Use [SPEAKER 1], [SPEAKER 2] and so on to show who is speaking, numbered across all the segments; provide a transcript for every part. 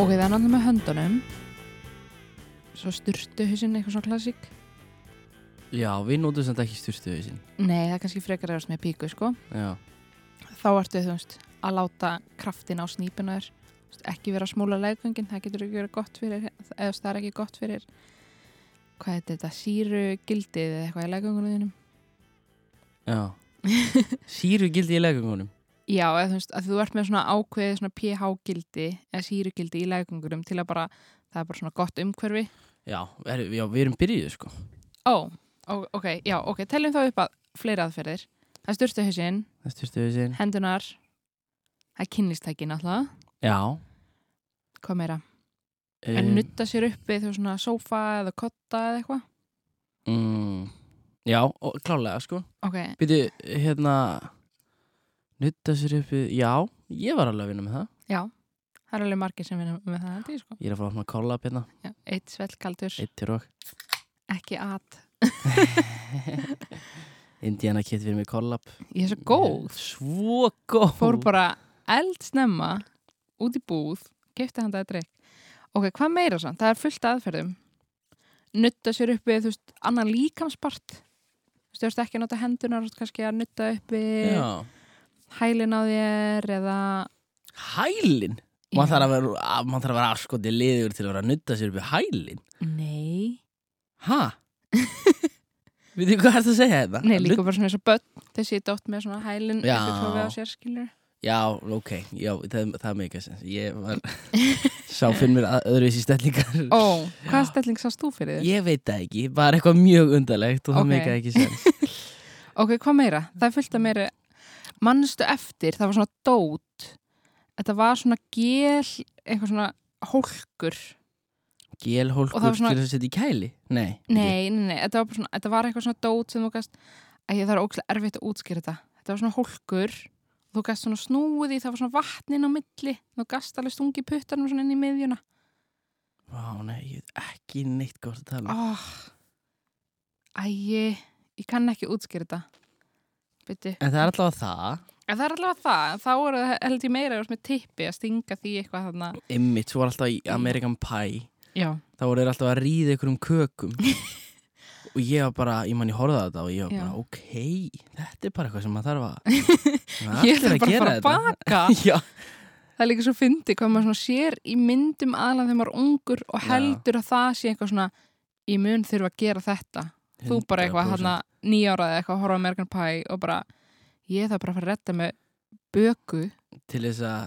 [SPEAKER 1] Ok, það er náttúrulega með höndunum Svo styrtu hausinn eitthvað svona klassík
[SPEAKER 2] Já, við notum samt ekki styrstuðisinn.
[SPEAKER 1] Nei, það er kannski frekar eðast með píku, sko
[SPEAKER 2] Já,
[SPEAKER 1] Þá ertu, þú veist, að láta kraftin á snýpina þér Þú veist, Ekki vera að smúla leggöngin, það getur ekki verið gott fyrir Eða það er ekki gott fyrir Hvað heitir þetta, síru gildið eða eitthvað í leggöngunum þínum
[SPEAKER 2] já. Sýru gildi í leggungunum.
[SPEAKER 1] Já, eða þú veist, að þú ert með svona ákveðið svona pH-gildi eða sírugildi í leggöngunum til að bara, það er bara svona gott umhverfi.
[SPEAKER 2] Já, er, já, við erum byrjuð, sko.
[SPEAKER 1] Ó, ó- ok, já, ok, teljum þá upp að fleiri aðferðir. Það er styrstu hausinn,
[SPEAKER 2] Það er styrstuðisinn.
[SPEAKER 1] hendunar, það er kynlýstækin alltaf,
[SPEAKER 2] Já.
[SPEAKER 1] hvað meira?
[SPEAKER 2] eh,
[SPEAKER 1] En nutta sér upp við þú svona sófa eða kotta eða eitthvað?
[SPEAKER 2] Mm, já, og klálega, sko.
[SPEAKER 1] Ok,
[SPEAKER 2] Býtu, hérna, nutta sér uppi, já, ég var alveg að vinna með það.
[SPEAKER 1] já, það er alveg margir sem vinna með það held ég sko.
[SPEAKER 2] Ég er að fá að opna kolla upp hérna,
[SPEAKER 1] Já, eitt svellkaldur,
[SPEAKER 2] eitt til rók.
[SPEAKER 1] ekki at.
[SPEAKER 2] Indiana Kid fyrir mig kollab.
[SPEAKER 1] Ég er svo góð,
[SPEAKER 2] Svo góð.
[SPEAKER 1] fór bara eldsnemma út í búð, gefti hann það að drikk. Ok, hvað meira sann? Það er fullt af aðferðum. Nutta sér upp við, þú veist, annan líkamspart. Þú veist, þú veist ekki að nota hendunar, þú veist, kannski að nutta upp við
[SPEAKER 2] Já.
[SPEAKER 1] hælin á þér eða...
[SPEAKER 2] Hælin. Man þarf að vera, að- maður þarf að vera afskotið liður til að vera að nutta sér uppi hælin.
[SPEAKER 1] Nei.
[SPEAKER 2] Ha? Við þið hvað er það að segja hérna? þetta?
[SPEAKER 1] Nei, líka bara svona eins og börn, þau sita oft með svona hælin
[SPEAKER 2] Já.
[SPEAKER 1] eftir trófið á sér, skilur.
[SPEAKER 2] Já, ok, já, það, það meika sens. Ég var, sá fyrir mér að- öðruvísi stellingar.
[SPEAKER 1] Ó, hvaða stelling sást þú fyrir þér?
[SPEAKER 2] Ég veit það ekki, bara eitthvað mjög undarlegt og það
[SPEAKER 1] Ok.
[SPEAKER 2] okay. meika ekki sens.
[SPEAKER 1] Ok, hvað meira? Það er fullt af meira Manstu eftir, það var svona dót Þetta var svona gél eitthvað svona hólkur
[SPEAKER 2] Gélhólkur
[SPEAKER 1] Og það var svona-
[SPEAKER 2] til að setja í kæli? Nei.
[SPEAKER 1] Nei, nei, nei, þetta var, bara svona, þetta var eitthvað svona dót sem þú gæst að ég þarf ókslega erfitt að útskýra þetta Þetta var svona hólkur þú gæst svona snúið í, það var svona vatnin á milli þú gæst alveg stungi puttanum svona inn í miðjuna
[SPEAKER 2] Vá, nei, ég veit ekki neitt gott að tala. um.
[SPEAKER 1] oh. Æi, ég kann ekki útskýra þetta Byttu
[SPEAKER 2] En það er allavega það,
[SPEAKER 1] En það er allavega það, þá er það held ég meira þú veist, með tippi að stinga því eitthvað þarna
[SPEAKER 2] ymmit, svo var alltaf í American Pie,
[SPEAKER 1] Já,
[SPEAKER 2] þá voru þeir alltaf að ríða ykkur um kökum. og ég var bara, ég mann, ég horfði á þetta og ég var
[SPEAKER 1] Já.
[SPEAKER 2] bara, ok, þetta er bara eitthvað sem maður þarf að... maður
[SPEAKER 1] ég
[SPEAKER 2] ætlar
[SPEAKER 1] ætla bara að fara að
[SPEAKER 2] gera þetta.
[SPEAKER 1] baka
[SPEAKER 2] Já,
[SPEAKER 1] það er líka svo fyndi hvað maður svona sér í myndum aðlan þegar maður er ungur og
[SPEAKER 2] Já.
[SPEAKER 1] heldur að það sé eitthvað svona ég mun þurfa að gera þetta þú bara eitthvað
[SPEAKER 2] 100%.
[SPEAKER 1] hann að nýjárað eitthvað að horfa á American Pie og bara ég þarf bara að fara að retta með böku
[SPEAKER 2] til þess að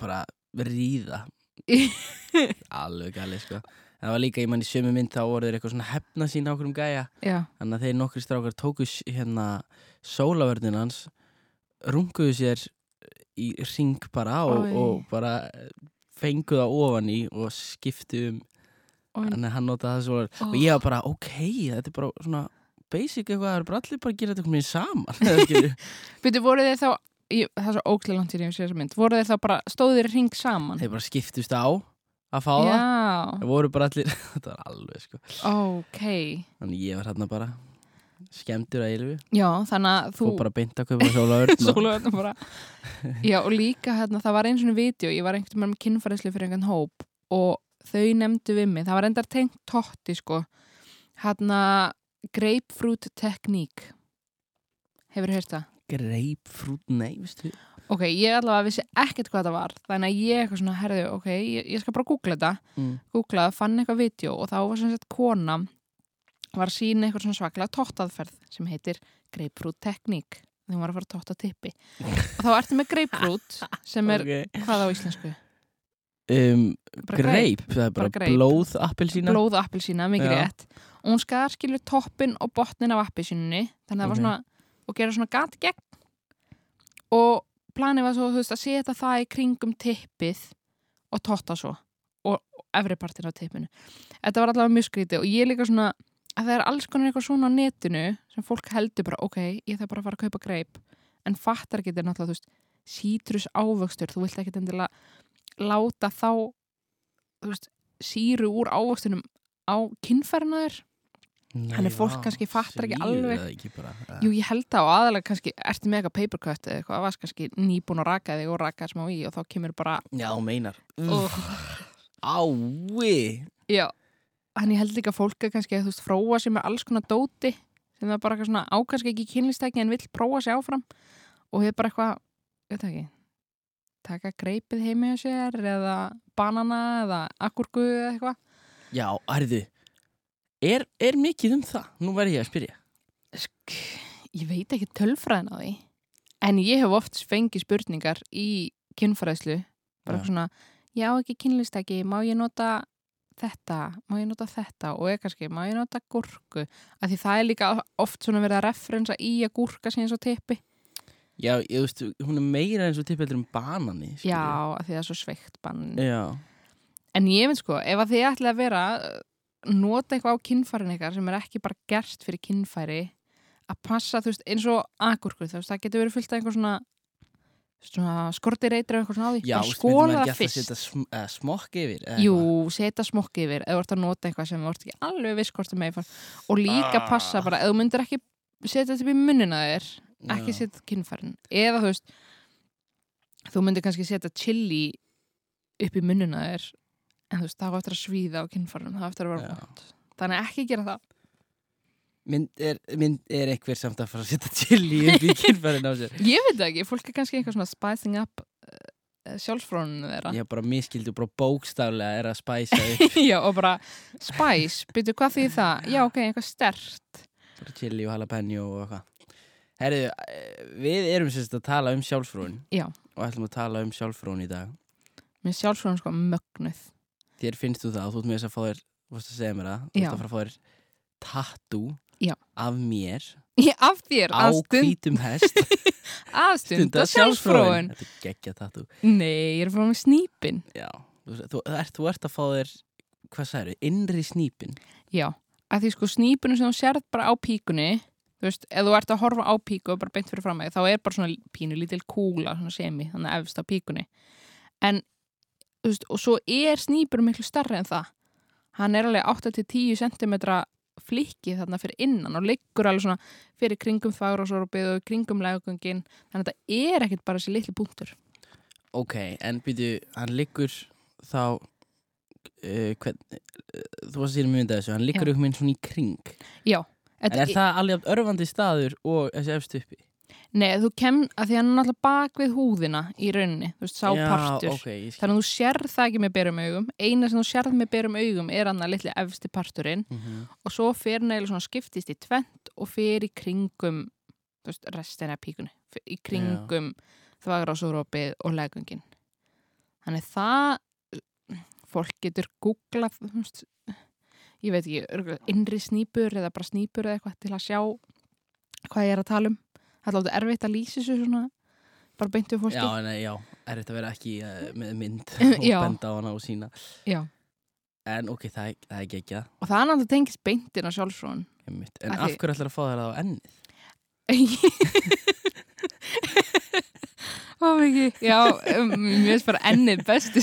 [SPEAKER 2] bara ríða alveg galið sko en það var líka, ég mann í sömu mynd þá voru þeir eitthvað svona hefna sín á okkur um gæja
[SPEAKER 1] já,
[SPEAKER 2] þannig að þeir nokkri strákar tóku s- hérna sólavörðin hans runguðu sér í ring bara og,
[SPEAKER 1] Oj.
[SPEAKER 2] og bara fengu það ofan í og skiptu um
[SPEAKER 1] Oj.
[SPEAKER 2] þannig að hann notaði það svo
[SPEAKER 1] Ó.
[SPEAKER 2] og ég var bara, ok, þetta er bara svona basic eitthvað, það er bara allir bara að gera þetta einhvern veginn saman eða skilju.
[SPEAKER 1] byrju voru þeir þá ég, það er svo óglega langt sér ég sé þessa mynd voru þeir þá bara, stóðu þeir í hring saman
[SPEAKER 2] þeir bara skiptust á að fá það
[SPEAKER 1] já,
[SPEAKER 2] Það voru bara allir, þetta var alveg sko
[SPEAKER 1] ok
[SPEAKER 2] Þannig ég var hérna bara skemmtur að ylfu
[SPEAKER 1] já, þannig að
[SPEAKER 2] Þú
[SPEAKER 1] þú
[SPEAKER 2] bara beint að kaupa sólaörn
[SPEAKER 1] Sólaugurnar bara Já og líka hérna, það var eins og vídeo ég var einhvern veginn með kynfærislu fyrir einhvern hóp og þau nefndu við mig það var endar tengt tótti sko hérna grapefruit tekník hefur heyrt það?
[SPEAKER 2] Greipfrút, nei, veistu
[SPEAKER 1] Ok, ég allavega vissi ekkert hvað það var þannig að ég eitthvað svona, herðu, ok ég, ég skal bara googla þetta
[SPEAKER 2] mm.
[SPEAKER 1] googlaði, fann eitthvað vídeo og þá var sem sagt kona var að sína eitthvað svona svaklega tóttaðferð sem heitir grapefruit tekník þegar hún var að fara að tótta tippi og þá ertu með grapefruit sem er
[SPEAKER 2] okay.
[SPEAKER 1] hvað á íslensku?
[SPEAKER 2] um,
[SPEAKER 1] Bara
[SPEAKER 2] Greip, það er
[SPEAKER 1] Bara
[SPEAKER 2] bara,
[SPEAKER 1] greip.
[SPEAKER 2] blóð appelsína
[SPEAKER 1] blóð og appelsína, mikið
[SPEAKER 2] Já.
[SPEAKER 1] rétt og hún skar skilur toppin og botnin af appelsínunni þannig að það var
[SPEAKER 2] Ok.
[SPEAKER 1] svona og gera svona gat í gegn og planið var svo þú veist, að setja það í kringum tippið og totta svo og og efri partin af tippinu þetta var allavega mjög skrítið og ég líka svona að það er alls konar eitthvað svona á netinu sem fólk heldur bara, ok, ég þarf bara að fara að kaupa greip en fattar ekki þetta er náttúrulega þú veist, sítrus ávöxtur þú vilt ekki endilega láta þá þú veist, síru úr ávöxtunum á kinnferðinu þér
[SPEAKER 2] Nei,
[SPEAKER 1] Þannig fólk
[SPEAKER 2] vá,
[SPEAKER 1] kannski fattar ekki
[SPEAKER 2] svíður
[SPEAKER 1] alveg.
[SPEAKER 2] það ekki bara, Eh, eða?
[SPEAKER 1] Jú, ég held það og aðalega kannski ertu með eitthvað papercut eða eitthvað, það varst kannski nýbúin að raka þig og raka þig smá í og þá kemur bara
[SPEAKER 2] Já, þú meinar
[SPEAKER 1] Úff.
[SPEAKER 2] Ái
[SPEAKER 1] Já, hann ég held líka fólk að kannski að þú veist fróa sér með alls konar dóti sem það bara eitthvað svona ákanski ekki kynlistæki en vill prófa sér áfram og hefur bara eitthvað, ég veit það ekki taka greipið heimi á sér eða banana eða agurku eða eitthvað
[SPEAKER 2] Já, erðu er, er mikið um það? Nú verð ég að spyrja
[SPEAKER 1] Sk ég veit ekki tölfræðin á því en ég hef oft fengið spurningar í kynfræðslu bara
[SPEAKER 2] Já.
[SPEAKER 1] eitthvað svona, já ekki kynlistæki má ég nota þetta má ég nota þetta og eða kannski má ég nota gúrku, af því það er líka oft svona verið að referensa í að gúrka sé eins og tippi,
[SPEAKER 2] Já, ég þú veist, hún er meira eins og tippeldur um banani skilur
[SPEAKER 1] já af því það er svo sveikt bann
[SPEAKER 2] við. Já
[SPEAKER 1] En ég veit sko, ef að þið ætlaði að vera uh, nota eitthvað á kynfærin ykkar sem er ekki bara gert fyrir kynfæri að passa, þú veist, eins og agurku, þú veist, það getur verið fullt af einhver svona svona skortirreitir eða eitthvað svona á því,
[SPEAKER 2] Já,
[SPEAKER 1] en
[SPEAKER 2] þú veist, myndi maður
[SPEAKER 1] skóla það
[SPEAKER 2] ekki alltaf
[SPEAKER 1] fyrst
[SPEAKER 2] setja sm uh, smokk yfir eða
[SPEAKER 1] Jú,
[SPEAKER 2] eitthvað?
[SPEAKER 1] setja smokk yfir eða þú ert að nota eitthvað sem þú ert ekki alveg viss hvort með og líka
[SPEAKER 2] Ah.
[SPEAKER 1] passa bara, eða þú myndir ekki setja þetta upp í munnina á þér
[SPEAKER 2] Já.
[SPEAKER 1] ekki setja kynfærin eða þú veist þú myndir kannski setja chili upp í munnuna á þér en þú veist, það á eftir að svíða á kynfærin það á eftir að vera
[SPEAKER 2] Já.
[SPEAKER 1] vant þannig ekki gera það
[SPEAKER 2] mynd er, mynd er einhver samt að fara að setja chili upp í kynfærin á sér
[SPEAKER 1] ég veit það ekki, fólk er kannski eitthvað svona spicing up uh, sjálfsfrónunum þeirra
[SPEAKER 2] ég bara miskildi og bara bókstaflega er að spæsa upp
[SPEAKER 1] já, og bara spice, byrju hvað því það já, ok, eitthvað stert
[SPEAKER 2] bara chili og jalapeno og eitthvað Herðu, eh, við erum sérst að tala um sjálfsfrón
[SPEAKER 1] Já.
[SPEAKER 2] og ætlum að tala um sjálfsfrón í dag
[SPEAKER 1] með sjálfsfrón sko mögnuð
[SPEAKER 2] þér finnst þú það og þú ert með þess að fá þér þú veist að segja mér það, þú
[SPEAKER 1] Já.
[SPEAKER 2] ert að fara að fá þér tattoo
[SPEAKER 1] Já.
[SPEAKER 2] af mér
[SPEAKER 1] ég af þér
[SPEAKER 2] á
[SPEAKER 1] að stund-
[SPEAKER 2] hvítum hest
[SPEAKER 1] að stunda sjálfsfróun
[SPEAKER 2] þetta er geggja tattoo
[SPEAKER 1] nei, ég er frá með snípin
[SPEAKER 2] Já, þú, þú, ert, þú ert að fá þér hvað særu, innri snípin
[SPEAKER 1] Já, að því sko snípunum sem þú sérð bara á píkunni þú veist, ef þú ert að horfa á píku og bara beint fyrir fram að þá er bara svona pínu lítil kúla svona semi, þannig efst á píkunni en, þú veist, og svo er snípunum miklu starri en það hann er alveg 8-10 cm flikki þarna fyrir innan og liggur alveg svona fyrir kringum fagrósorbið og kringum legungin þannig að þetta er ekkert bara þessi litli punktur
[SPEAKER 2] Ok, en býtu, hann liggur þá uh, hvern, uh, þú varst að sér mynda þessu hann liggur
[SPEAKER 1] Já.
[SPEAKER 2] upp minn svona í kring En
[SPEAKER 1] Þetta
[SPEAKER 2] er það alveg jafn örfandi staður og þessi efst uppi?
[SPEAKER 1] Nei, þú kem að því hann er náttúrulega bak við húðina í rauninni, þú veist, sápartur
[SPEAKER 2] Já, ok, ég skil
[SPEAKER 1] Þannig að þú sérð það ekki með berum augum. Eina sem þú sérð með berum augum er hann að litli efsti parturinn
[SPEAKER 2] mm -hmm.
[SPEAKER 1] og svo fer hann eiginlega svona skiptist í tvent og fer í kringum þú veist, restina af píkunni. Fer Í kringum þvagrásórópið og legungin. Þannig að það fólk getur googlað þú veist, ég veit ekki, örugglega innri snýpur eða bara snýpur eða eitthvað til að sjá hvað ég er að tala um. Það er látið erfitt að lýsa þessu svona bara beint við fólki.
[SPEAKER 2] Já, en, eh, já, er þetta verið ekki uh, með mynd og
[SPEAKER 1] Já.
[SPEAKER 2] benda á hana og sína
[SPEAKER 1] Já.
[SPEAKER 2] En ok, það, er- það er ekki ekki
[SPEAKER 1] Og það er náttúrulega tengist beintin á sjálfsfrón.
[SPEAKER 2] En
[SPEAKER 1] Af því-
[SPEAKER 2] af hverju ætlar að fá þér það á ennið?
[SPEAKER 1] Ó, ekki. Já, um, mér finnst bara ennið bestu.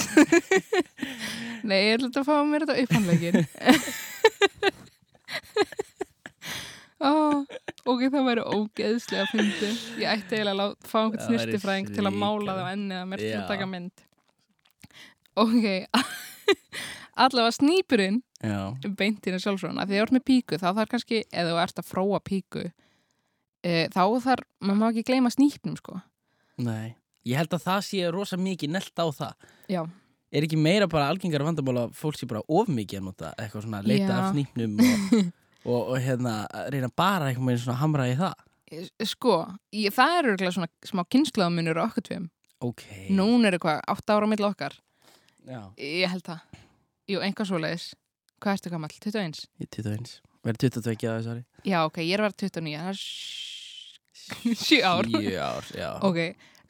[SPEAKER 1] Nei, ég ætla þetta að fá mér þetta upphandlegin. Ó, ok, það væri ógeðslega að fyndi. Ég ætti eiginlega að lá- fá einhvern
[SPEAKER 2] Það væri
[SPEAKER 1] snirtifræðing til að mála það á
[SPEAKER 2] hrikalegt.
[SPEAKER 1] ennið að mér til
[SPEAKER 2] Já.
[SPEAKER 1] að taka mynd. Ok, allavega snýpurinn
[SPEAKER 2] Já,
[SPEAKER 1] beintina sjálfsvona, því að þú ert með píku þá þarf kannski, eða þú ert að fróa píku e, þá þarf maður má ekki gleyma snýpnum sko
[SPEAKER 2] nei Ég held að það sé rosa mikið nelt á það
[SPEAKER 1] já,
[SPEAKER 2] er ekki meira bara algengar vandamál að fólk sé bara of mikið að nota eitthvað svona að leita
[SPEAKER 1] Já.
[SPEAKER 2] af snýpnum og, og, og hérna að reyna bara einhvern veginn svona að hamra í það
[SPEAKER 1] e, sko ég, það eru eitthvað svona smá kynnslaðamunur á okkur tveim,
[SPEAKER 2] ok
[SPEAKER 1] núna eru hvað 8 ára mill okkar,
[SPEAKER 2] já,
[SPEAKER 1] ég held það jú, einhvað svoleiðis, hvað ertu gamall 21?
[SPEAKER 2] ég er 21, verður 22 að þessari
[SPEAKER 1] Já, ok, ég er að vera 29 það er sj- sjö ár
[SPEAKER 2] 7 ár, já
[SPEAKER 1] ok,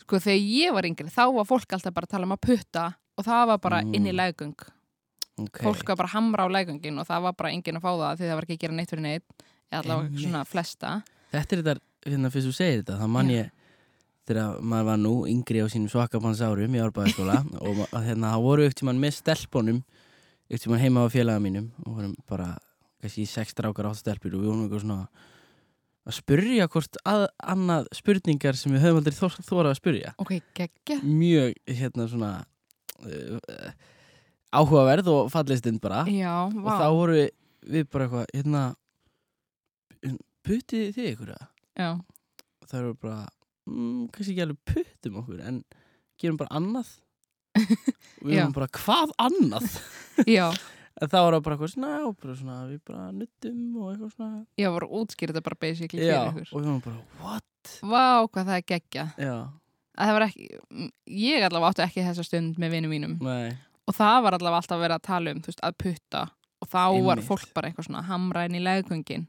[SPEAKER 1] sko þegar ég var yngri þá var fólk alltaf bara að tala um að putta og það var bara
[SPEAKER 2] Mm.
[SPEAKER 1] inn í legung
[SPEAKER 2] okay.
[SPEAKER 1] fólk var bara að hamra á lægangin og það var bara enginn að fá það því það var ekki að gera neitt fyrir neitt eða allavega
[SPEAKER 2] Einmitt.
[SPEAKER 1] svona flesta
[SPEAKER 2] þetta er þetta, hérna fyrst þú segir þetta þá man
[SPEAKER 1] Já.
[SPEAKER 2] ég þegar maður var nú yngri á sínum svakabanns árum í árbæðaskóla og ma- að hérna, það voru ykti mann með stelpunum ykti mann heima á félaga mínum og vorum bara kannski sex strákar átt stelpur og við vorum eitthvað svona að spyrja hvort að, annað spurningar sem við höfum aldrei þor, þorað að spyrja
[SPEAKER 1] Ok, geggja.
[SPEAKER 2] mjög hérna svona uh, uh, áhugaverð og fallistinn bara
[SPEAKER 1] Já, vá.
[SPEAKER 2] og þá voru við, við bara eitthvað hérna putið þið ykkur að
[SPEAKER 1] Já,
[SPEAKER 2] það eru bara mm, kannski ekki alveg puttum okkur en gerum bara annað og við
[SPEAKER 1] Já.
[SPEAKER 2] erum bara hvað annað
[SPEAKER 1] já,
[SPEAKER 2] en það var bara eitthvað svona, já, bara svona við bara nuttum og eitthvað svona
[SPEAKER 1] já, voru útskýrð þetta bara basically
[SPEAKER 2] já,
[SPEAKER 1] fyrir
[SPEAKER 2] og
[SPEAKER 1] ykkur.
[SPEAKER 2] við varum bara, what?
[SPEAKER 1] Vá, hvað það er geggja.
[SPEAKER 2] Já,
[SPEAKER 1] Að það var ekki, m- ég allavega átti ekki þessa stund með vinum mínum.
[SPEAKER 2] nei,
[SPEAKER 1] Og það var allavega alltaf verið að tala um, þú veist, að putta. Og þá var
[SPEAKER 2] Einmitt.
[SPEAKER 1] fólk bara eitthvað svona að hamra inn í legungin.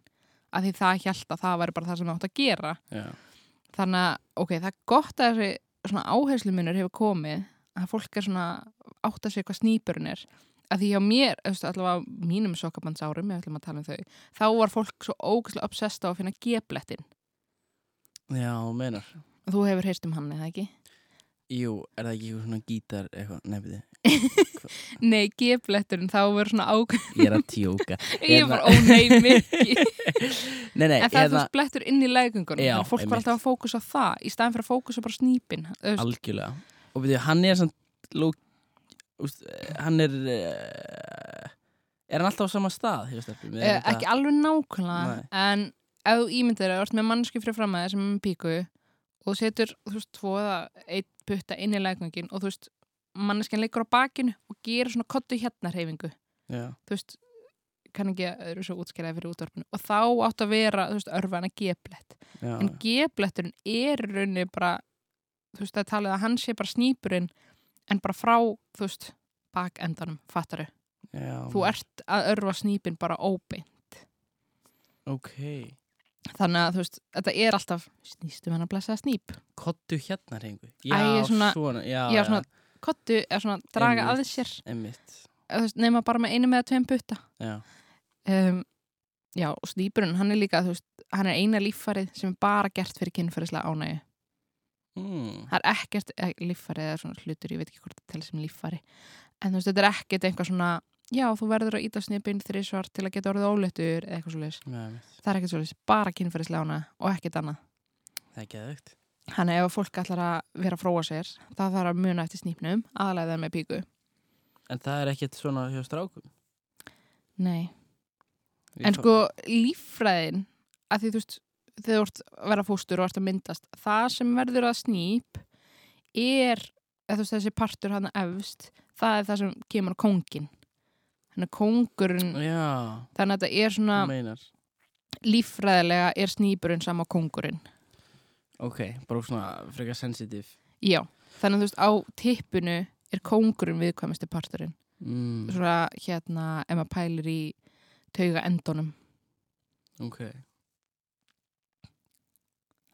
[SPEAKER 1] Af því það hjælt að það væri bara það sem það átt að gera.
[SPEAKER 2] já,
[SPEAKER 1] þannig að, ok, það er gott að þessi svona áherslumunur hefur komið að fólk er svona átt að segja hvað snýpurinn er að því hjá mér, þú veist, allavega á mínum sokkabandsárum, ég ætlum að tala um þau þá var fólk svo ógæslega obsessed á að finna geblettin
[SPEAKER 2] já, menar
[SPEAKER 1] þú hefur heyrst um hann, eða ekki?
[SPEAKER 2] Jú, er það ekki eitthvað svona gítar eitthvað, nefnir
[SPEAKER 1] Nei, gebletturinn, þá verður svona ágæð
[SPEAKER 2] þið Ég er að tjóka
[SPEAKER 1] ég
[SPEAKER 2] Hérna.
[SPEAKER 1] var ónei mikið
[SPEAKER 2] Nei, nei, hérna-
[SPEAKER 1] en það er þú veist blettur inn í lægungunum
[SPEAKER 2] Já,
[SPEAKER 1] þannig að fólk var
[SPEAKER 2] einmitt.
[SPEAKER 1] alltaf að fókusa á það í staðin fyrir að fókusa bara á snýpin þú veist,
[SPEAKER 2] Algjörlega Og byrju, hann er samt ló, úst, Hann er uh, Er hann alltaf á sama stað hjá stelpum?
[SPEAKER 1] Eh,
[SPEAKER 2] Eða er þetta-
[SPEAKER 1] ekki alveg nákvæmlega
[SPEAKER 2] Nei.
[SPEAKER 1] en ef þú ímyndir þér að þú ert með mannski fyrir fram að þér sem er með píku og þú setur þú veist tvo eða eitt putta inn í lækningin og þú veist manneskinn leikur á bakinu og gerir svona kottu hérna hreyfingu
[SPEAKER 2] Já,
[SPEAKER 1] þú veist kann ekki að eru svo útskælaði fyrir útvarpinu og þá átt að vera þú veist örfana geblett
[SPEAKER 2] já,
[SPEAKER 1] en gebletturinn er í rauninni bara þú veist það er talið að hann sé bara snýpurinn en bara frá þú veist bakendanum fattaru
[SPEAKER 2] já
[SPEAKER 1] þú ert að örfa snýpin bara óbeint
[SPEAKER 2] Ok
[SPEAKER 1] þannig að þú veist, þetta er alltaf snýstum hann að blessa snýp
[SPEAKER 2] Kottu hérna reyngu Já,
[SPEAKER 1] Æ, svona-
[SPEAKER 2] svona Já,
[SPEAKER 1] já, svona kottu eða svona draga að
[SPEAKER 2] Einmitt.
[SPEAKER 1] sér
[SPEAKER 2] Emmitt
[SPEAKER 1] eða þú veist, nema bara með einu með tveim putta
[SPEAKER 2] Já,
[SPEAKER 1] um, já, og snýpurinn, hann er líka þú veist, hann er eina líffarið sem er bara gert fyrir kynferðislega ánægju
[SPEAKER 2] mm.
[SPEAKER 1] það er ekkert eh, líffarið eða svona hlutur, ég veit ekki hvort það telur sem líffari en þú veist, þetta er ekkert eitthvað svona já, þú verður að íta snýpinn þrísvar til að geta orðið óléttur eða eitthvað svoleiðis
[SPEAKER 2] já einmitt.
[SPEAKER 1] það er ekkert svoleiðis, bara kynferðislega ánægja og ekkert annað
[SPEAKER 2] Það er geðvögt
[SPEAKER 1] Þannig að ef að fólk ætlar að vera að fróa sér, það þarf að muna eftir snýpnum, aðalega það með píku.
[SPEAKER 2] En það er ekkert svona hjá strákum
[SPEAKER 1] Nei.
[SPEAKER 2] Ég
[SPEAKER 1] En
[SPEAKER 2] fá-
[SPEAKER 1] sko, líffræðin, að því þú veist, þegar þú ert að vera fóstur og ert að myndast, það sem verður að snýp er, eða þú veist, þessi partur hann efst, það er það sem kemur á kóngin. Þannig að kóngurinn,
[SPEAKER 2] Já,
[SPEAKER 1] þannig að þetta er sko- svona
[SPEAKER 2] þú meinar
[SPEAKER 1] líffræðilega er snýpurinn sama kóngurinn.
[SPEAKER 2] Ok, bara svona frekar sensitive
[SPEAKER 1] Já, þannig að þú veist, á tippinu er kóngurinn viðkvæmasti parturinn.
[SPEAKER 2] mm.
[SPEAKER 1] svona hérna ef maður pælir í tauga endunum
[SPEAKER 2] Ok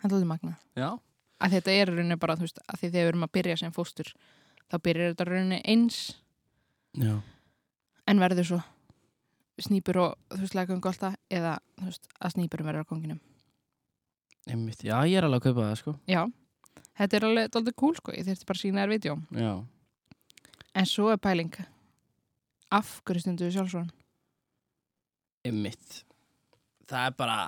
[SPEAKER 1] hann er alveg magna
[SPEAKER 2] Já,
[SPEAKER 1] að þetta er í rauninni bara þú veist að því þegar við erum að byrja sem fóstur þá byrjar þetta í rauninni eins
[SPEAKER 2] já
[SPEAKER 1] en verður svo snýpur og þú veist lagungu alltaf eða þú veist að snýpurum verður á konginum
[SPEAKER 2] Einmitt, já, ég er alveg að kaupa það, sko.
[SPEAKER 1] já, þetta er alveg daldið cool sko ég þurfti bara að sína þér vídeo
[SPEAKER 2] Já.
[SPEAKER 1] en svo er pæling af hverju stundu við sjálfsvon
[SPEAKER 2] Einmitt. Það er bara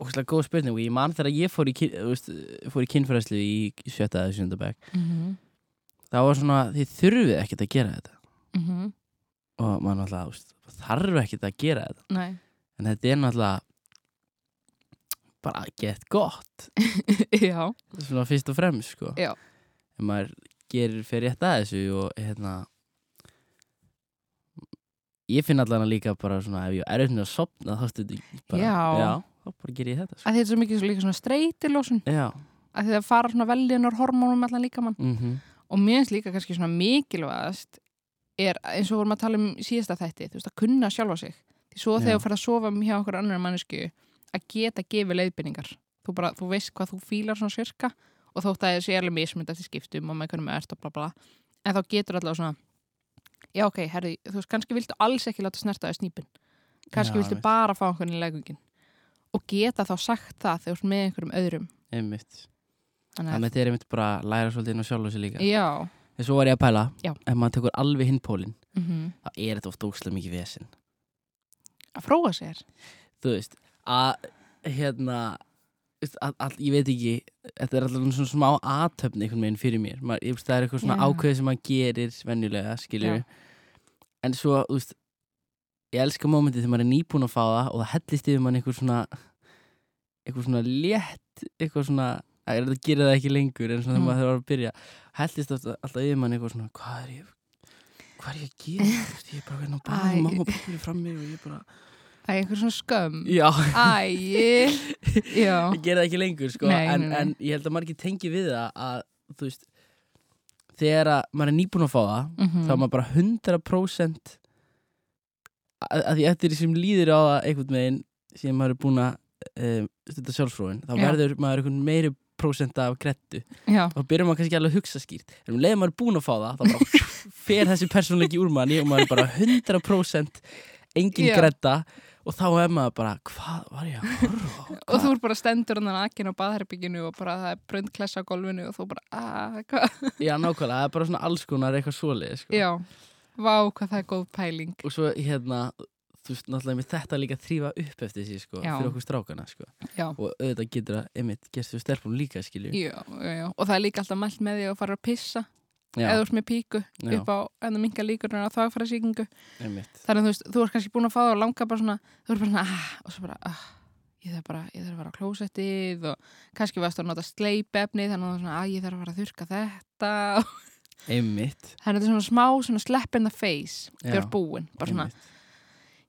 [SPEAKER 2] ógæslega góð spurning og ég man þegar ég fór í, kyn- þú veist, fór í kynfræðslu í sjötta eða sjöndabæk.
[SPEAKER 1] mm -hmm.
[SPEAKER 2] Það var svona, þið þurfið ekkert að gera þetta.
[SPEAKER 1] mm -hmm.
[SPEAKER 2] Og maður náttúrulega, þú veist, það þarf ekkert að gera þetta.
[SPEAKER 1] nei
[SPEAKER 2] En þetta er náttúrulega bara gett gott.
[SPEAKER 1] já,
[SPEAKER 2] Svona fyrst og fremst, sko.
[SPEAKER 1] Já.
[SPEAKER 2] En maður gerir fyrir rétt að þessu og hérna ég finn allan að líka bara svona ef ég er auðvitað að sopna þá stundi ég bara
[SPEAKER 1] Já.
[SPEAKER 2] þá bara ger ég þetta sko.
[SPEAKER 1] að þetta er svo mikið svo líka svona streytilósun
[SPEAKER 2] Já,
[SPEAKER 1] að þetta fara svona veljunar hormónum allan líka mann
[SPEAKER 2] mhm,
[SPEAKER 1] og mér finnst líka kannski svona mikilvægast er eins og vorum að tala um síðasta þætti þú veist að kunna sjálfa sig því svo
[SPEAKER 2] Já.
[SPEAKER 1] þegar þú fer að sofa hjá okkur annar mannesku að geta gefið leiðbyrningar þú bara, þú veist hvað þú fílar svona sirka og þótt að það sé alveg mismund eftir skiptum og með hvernig með ert og bla bla en þá getur allavega svona já ok, herri, þú veist, kannski viltu alls ekki láta snerta þau snýpin, kannski
[SPEAKER 2] Já,
[SPEAKER 1] viltu
[SPEAKER 2] einmitt.
[SPEAKER 1] bara fá einhvern í legungin og geta þá sagt það þegar þú ert með einhverjum öðrum
[SPEAKER 2] einmitt
[SPEAKER 1] Þannig
[SPEAKER 2] Þannig að þetta er einmitt bara að læra svolítið inn á sjálf og sér líka
[SPEAKER 1] að, já,
[SPEAKER 2] En svo var ég að pæla,
[SPEAKER 1] Já.
[SPEAKER 2] ef maður tekur alveg hinn pólinn
[SPEAKER 1] mhm
[SPEAKER 2] þá er þetta oft ókslega mikið vesinn
[SPEAKER 1] að fróa sér
[SPEAKER 2] þú veist að hérna veist, að, að, ég veit ekki, þetta er alltaf svona smá aðtöfn einhvern veginn fyrir mér Maður, ég, veist, það er eitthvað svona
[SPEAKER 1] Já.
[SPEAKER 2] ákveð sem maður gerir venjulega, skiljum við en svo, þú veist ég elska mómentið þegar maður er nýbúin að fá það og það hellist yfir mann einhver svona einhver svona létt eitthvað svona, að er þetta gerir það ekki lengur en
[SPEAKER 1] Mm.
[SPEAKER 2] svona þegar maður þarf að byrja hellist alltaf, alltaf yfir mann eitthvað svona hvað er ég hvað er ég að gera, Þú veist, ég er bara hérna að
[SPEAKER 1] Æ.
[SPEAKER 2] bæða mamma og pappi fram mig og ég bara,
[SPEAKER 1] Það er einhver svona skömm
[SPEAKER 2] já
[SPEAKER 1] Æ, já
[SPEAKER 2] ég gera það ekki lengur sko,
[SPEAKER 1] Nei,
[SPEAKER 2] en,
[SPEAKER 1] nei, nei.
[SPEAKER 2] en ég held að margir tengi við það að þú veist þegar að maður er nýbúin að fá það
[SPEAKER 1] Mhm.
[SPEAKER 2] þá er maður bara 100% að, að því eftir því sem líður á það einhvern veginn sem maður er búin að um, stunda sjálfsfróin þá
[SPEAKER 1] Já.
[SPEAKER 2] verður maður einhvern meiri prósenta af krettu
[SPEAKER 1] Já,
[SPEAKER 2] þá byrjar maður kannski alveg að hugsa skýrt en um leiðum maður er búin að fá það þá bara fer þessi persónleiki úr manni og maður er bara 100% engin
[SPEAKER 1] Já.
[SPEAKER 2] gretta og þá er maður bara hvað var ég að horfa á?
[SPEAKER 1] og þú er bara stendur hann aðkinn á baðherbygginu og bara það er bröndklessa á golfinu og þú bara, aaa, hvað
[SPEAKER 2] Já, nákvæmlega, það er bara svona alls konar eitthvað svoleið sko.
[SPEAKER 1] Já, vá, hvað það er góð pæling
[SPEAKER 2] Og svo hérna, þú veist, náttúrulega með þetta líka þrýfa upp eftir því, sko,
[SPEAKER 1] Já.
[SPEAKER 2] fyrir okkur strákana, sko
[SPEAKER 1] Já,
[SPEAKER 2] Og auðvitað getur það, einmitt, gerst þú stelpum líka, skilju
[SPEAKER 1] já, já, já og það er líka alltaf mælt með því að fara að pissa eða þú ert með píku
[SPEAKER 2] já,
[SPEAKER 1] upp á en það minga líkurinn á þvagfæra sýkingu
[SPEAKER 2] einmitt
[SPEAKER 1] þannig að þú veist, þú ert kannski búin að fá það og langa bara svona, þú ert bara svona, ah, og svo bara, ah ég þarf bara, ég þarf að fara á klósettið og kannski varst að nota sleipefni þannig að þú er svona, að ég þarf að fara að þurka þetta
[SPEAKER 2] Einmitt,
[SPEAKER 1] þannig að þetta er svona smá, svona slap in the face
[SPEAKER 2] Já.
[SPEAKER 1] þegar búin, bara svona,
[SPEAKER 2] einmitt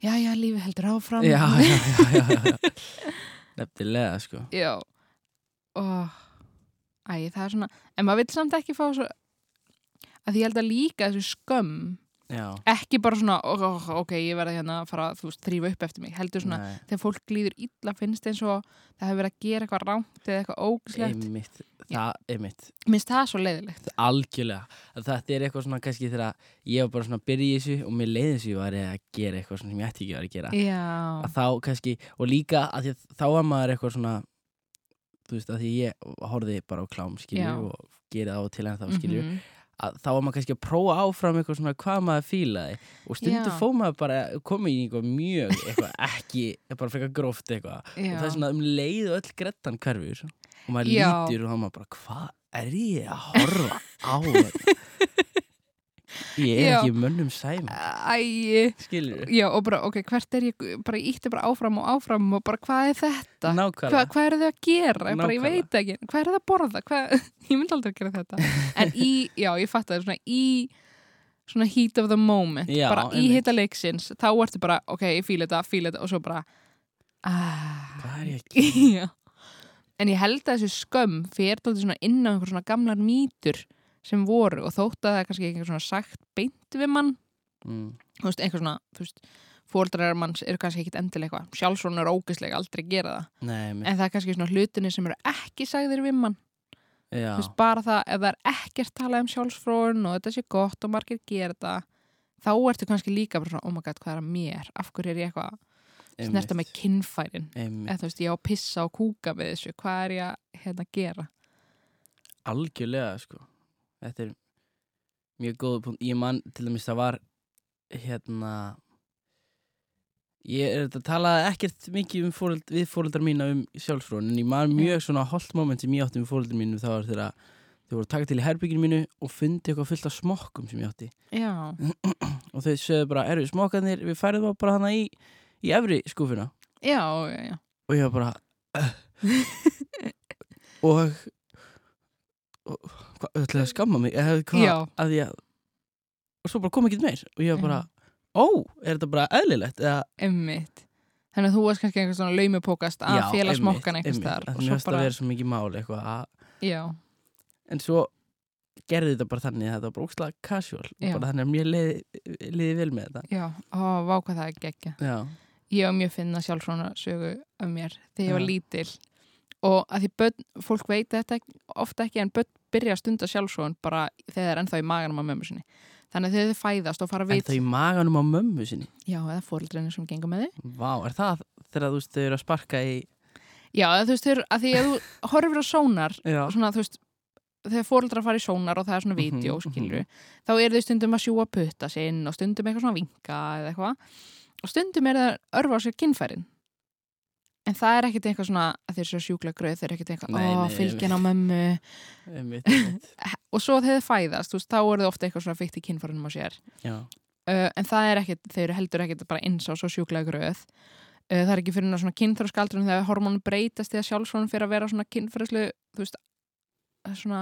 [SPEAKER 1] já, já, lífið heldur áfram
[SPEAKER 2] Já, já, já, já, já. Nefnilega, sko
[SPEAKER 1] Já og æ, það er svona en maður vil samt ekki fá svo að því ég held að líka þessu skömm
[SPEAKER 2] Já,
[SPEAKER 1] ekki bara svona, ó, ó, ok, ég verði hérna að fara, þú veist, þrýfa upp eftir mig, heldur svona
[SPEAKER 2] nei,
[SPEAKER 1] þegar fólk líður illa finnst eins og það hefur verið að gera eitthvað rámt eða eitthvað ógislegt,
[SPEAKER 2] einmitt Það, einmitt,
[SPEAKER 1] minnst það svo leiðilegt
[SPEAKER 2] algjörlega Að Þetta er eitthvað svona, kannski þegar ég var bara svona að byrja í þessu og mér leiði þessu var ég að gera eitthvað svona sem ég ætti ekki að vera að gera
[SPEAKER 1] Já,
[SPEAKER 2] að þá kannski, og líka að því að þá var maður eitthvað svona þú veist, að því ég horfði bara á klám skilju
[SPEAKER 1] Já.
[SPEAKER 2] og gerði það á til en þá skilju
[SPEAKER 1] Mhm.
[SPEAKER 2] að þá var maður kannski að prófa áfram eitthvað svona hvað maður fílaði og stundu
[SPEAKER 1] Já.
[SPEAKER 2] fóð maður bara komið í eitthvað mjög eitthvað ekki, bara frekar gróft eitthvað og það
[SPEAKER 1] já,
[SPEAKER 2] er svona um leið og öll grettan hverfur og maður
[SPEAKER 1] Já.
[SPEAKER 2] lítur og þá maður bara hvað er ég að horfa á þetta ég er
[SPEAKER 1] Já.
[SPEAKER 2] ekki mönnum sæm
[SPEAKER 1] Æ,
[SPEAKER 2] skilju,
[SPEAKER 1] já, og bara, ok, hvert er ég bara ég ítti bara áfram og áfram og bara hvað er þetta
[SPEAKER 2] nákvæmlega
[SPEAKER 1] hvað, hvað eru þau að gera? Ég, bara, ég
[SPEAKER 2] Nákvæmlega.
[SPEAKER 1] veit ekki, hvað eru þau að borða? Hvað, ég myndi aldrei að gera þetta en í, já, ég fatt að svona í svona heat of the moment
[SPEAKER 2] Já,
[SPEAKER 1] bara í
[SPEAKER 2] einmitt.
[SPEAKER 1] hita leiksins, þá ertu bara ok, ég fíla þetta, fíla þetta og svo bara ahhh
[SPEAKER 2] hvað er ég að
[SPEAKER 1] en ég held að þessu skömm fyrir þetta svona inn á einhver svona gamlar mýtur sem voru og þótt að það er kannski einhver svona sagt beint við mann
[SPEAKER 2] mm.
[SPEAKER 1] þú veist, einhver svona, þú veist fóldrar manns eru kannski ekkit endilega eitthvað sjálfsvon er ógislega aldrei gera það
[SPEAKER 2] Nei, mér
[SPEAKER 1] en það er kannski svona hlutinni sem eru ekki sagðir við mann,
[SPEAKER 2] Já,
[SPEAKER 1] þú veist bara það ef það er ekkert talað um sjálfsfróðun og þetta sé gott og margir gera það þá ertu kannski líka bara svona, oh my god, hvað er að mér af hverju er ég eitthvað að snerta með kinnfærin
[SPEAKER 2] einmitt,
[SPEAKER 1] eða þú veist, ég á að pissa og kúka með þessu hvað er ég að hérna gera
[SPEAKER 2] algjörlega sko þetta er mjög góð punkt ég man til dæmis það var hérna ég er þetta talaði ekkert mikið um fóröld, við fóreldar mína um sjálfsfrón en ég man mjög svona holt moment sem ég átti um fóreldar mínum þá var þeirra þau voru að taka til í herbygginu mínu og fundi eitthvað fullt af smokkum sem ég átti
[SPEAKER 1] já,
[SPEAKER 2] og þau sögðu bara, eru smokkanir, við færðum þá bara hana í, í efri skúfuna
[SPEAKER 1] já, já, já
[SPEAKER 2] og ég var bara og, og hvað, ætlaði að skamma mig eða hvað,
[SPEAKER 1] Já.
[SPEAKER 2] að ég og svo bara kom ekki meir og ég var bara, ó, er þetta bara eðlilegt eða,
[SPEAKER 1] emmitt þannig að þú varst kannski einhvers svona laumupókast að fjela
[SPEAKER 2] einmitt,
[SPEAKER 1] smokkan einhvers
[SPEAKER 2] einmitt.
[SPEAKER 1] þar
[SPEAKER 2] Að
[SPEAKER 1] og
[SPEAKER 2] mér
[SPEAKER 1] svo
[SPEAKER 2] finnst það
[SPEAKER 1] bara,
[SPEAKER 2] að vera svo mikið mál eitthvað að,
[SPEAKER 1] já,
[SPEAKER 2] en svo gerði þetta bara þannig að þetta var bara ókslega casual
[SPEAKER 1] Já.
[SPEAKER 2] bara þannig að mér liði, liði vel með þetta
[SPEAKER 1] já, ó, vá hvað það er geggja
[SPEAKER 2] já,
[SPEAKER 1] ég á mjög finna sjálfsvona sögu af mér þegar ég var
[SPEAKER 2] Já.
[SPEAKER 1] lítil og að því börn, fólk veit þetta ekki- oft ekki en börn byrja að stunda sjálfsvon bara þegar það er ennþá í maganum á mömmu sinni þannig að þegar þau fæðast og fara
[SPEAKER 2] en
[SPEAKER 1] við
[SPEAKER 2] það í maganum á mömmu sinni
[SPEAKER 1] já, eða fóreldrinu sem gengur með þau
[SPEAKER 2] vá, er það þegar þú veist þau eru að sparka í
[SPEAKER 1] já, eða þú veist, þeir, að því að þú horfir á sónar
[SPEAKER 2] já,
[SPEAKER 1] svona, þú veist, þegar fóreldra fara í sónar og það er svona
[SPEAKER 2] Mhm,
[SPEAKER 1] vídeo,
[SPEAKER 2] mhm.
[SPEAKER 1] skilur þá eru þau stundum að sjúa putta sinn og stundum eitthvað svona vinka eða eitthvað og stundum er það að örfa á sér kynfærin en það er ekkit eitthvað svona að þeir séu sjúklega gröð, þeir eru ekkit eitthvað
[SPEAKER 2] Nei,
[SPEAKER 1] ó,
[SPEAKER 2] nei,
[SPEAKER 1] fylgjan á mömmu
[SPEAKER 2] einmitt, einmitt.
[SPEAKER 1] og svo þegar þau fæðast, þú veist, þá eru þau ofta eitthvað svona fyrkt í kynfærinum á sér
[SPEAKER 2] Já,
[SPEAKER 1] uh, en það er ekkit, þeir eru heldur ekkit bara eins á svo sjúklega gröð uh, það er ekki fyrir ná svona kynþróskaldrun þegar hormónu breytast eða sjálfsvonum fyrir að vera svona kynfærislu, þú veist svona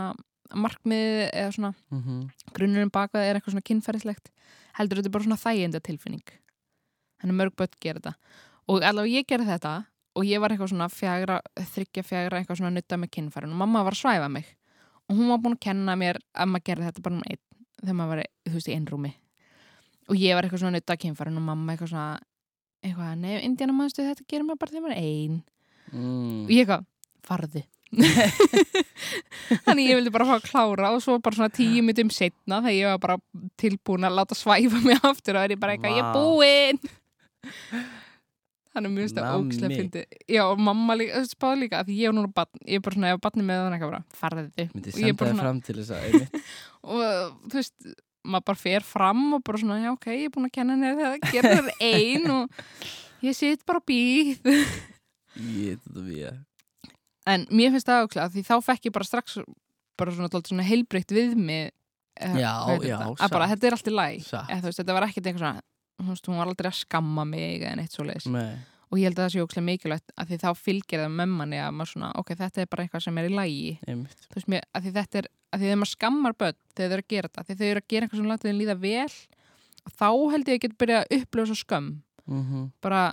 [SPEAKER 1] markmið eða svona
[SPEAKER 2] mm
[SPEAKER 1] grunnurinn bak við það er eitthvað svona kynferðislegt heldur þetta er bara svona þæginda tilfinning þannig mörg börn gera þetta og allavega ég gerði þetta og ég var eitthvað svona fjagra, þryggja fjagra eitthvað svona nutta með kynferðin og mamma var að svæfa mig og hún var búin að kenna mér að maður gerði þetta bara um einn þegar maður var, þú veist, í einrúmi og ég var eitthvað svona nutta kynferðin og mamma eitthvað svona eitthvað, nei, Indiana mannstu þetta gerir maður bara þegar maður er ein
[SPEAKER 2] Mm.
[SPEAKER 1] og ég eitthvað, farði þannig ég vildi bara fá að klára og svo bara svona tíu minnum setna þegar ég var bara tilbúin að láta svæfa mig aftur og er ég bara eitthvað, ég er
[SPEAKER 2] Vá.
[SPEAKER 1] búinn þannig mjög stað
[SPEAKER 2] Nammi.
[SPEAKER 1] ókslega fyndi já, og mamma líka, spáð líka af því ég er núna barn, ég er bara svona, ég var barni með þannig eitthvað bara, farði
[SPEAKER 2] myndi
[SPEAKER 1] og ég
[SPEAKER 2] senda
[SPEAKER 1] bara
[SPEAKER 2] það
[SPEAKER 1] svona,
[SPEAKER 2] fram til þess að einmitt,
[SPEAKER 1] og þú veist maður bara fer fram og bara svona já ok, ég er búin að kenna henni það, gera það ein og ég sitt bara og býð
[SPEAKER 2] ég þetta við að
[SPEAKER 1] en mér finnst það áklæða því þá fekk ég bara strax bara svona, dálítið svona heilbreykt við mig
[SPEAKER 2] Já, já,
[SPEAKER 1] að bara
[SPEAKER 2] satt.
[SPEAKER 1] þetta er allt í læg
[SPEAKER 2] Satt.
[SPEAKER 1] eða, þú veist, þetta var ekkert einhver svona þú veist, hún var aldrei að skamma mig eða neitt svo leiðis
[SPEAKER 2] Nei,
[SPEAKER 1] og ég held að það sé ókslega mikilvægt að því þá fylgir það með manni að maður svona, ok, þetta er bara eitthvað sem er í lægi
[SPEAKER 2] einmitt
[SPEAKER 1] þú veist mér, að því þetta er að því þegar maður skammar börn þegar þau eru að gera þetta, af því þau eru að gera eitthvað sem látið þeim líða vel þá held ég að geta byrjað að upplifa svo skömm
[SPEAKER 2] mm
[SPEAKER 1] bara,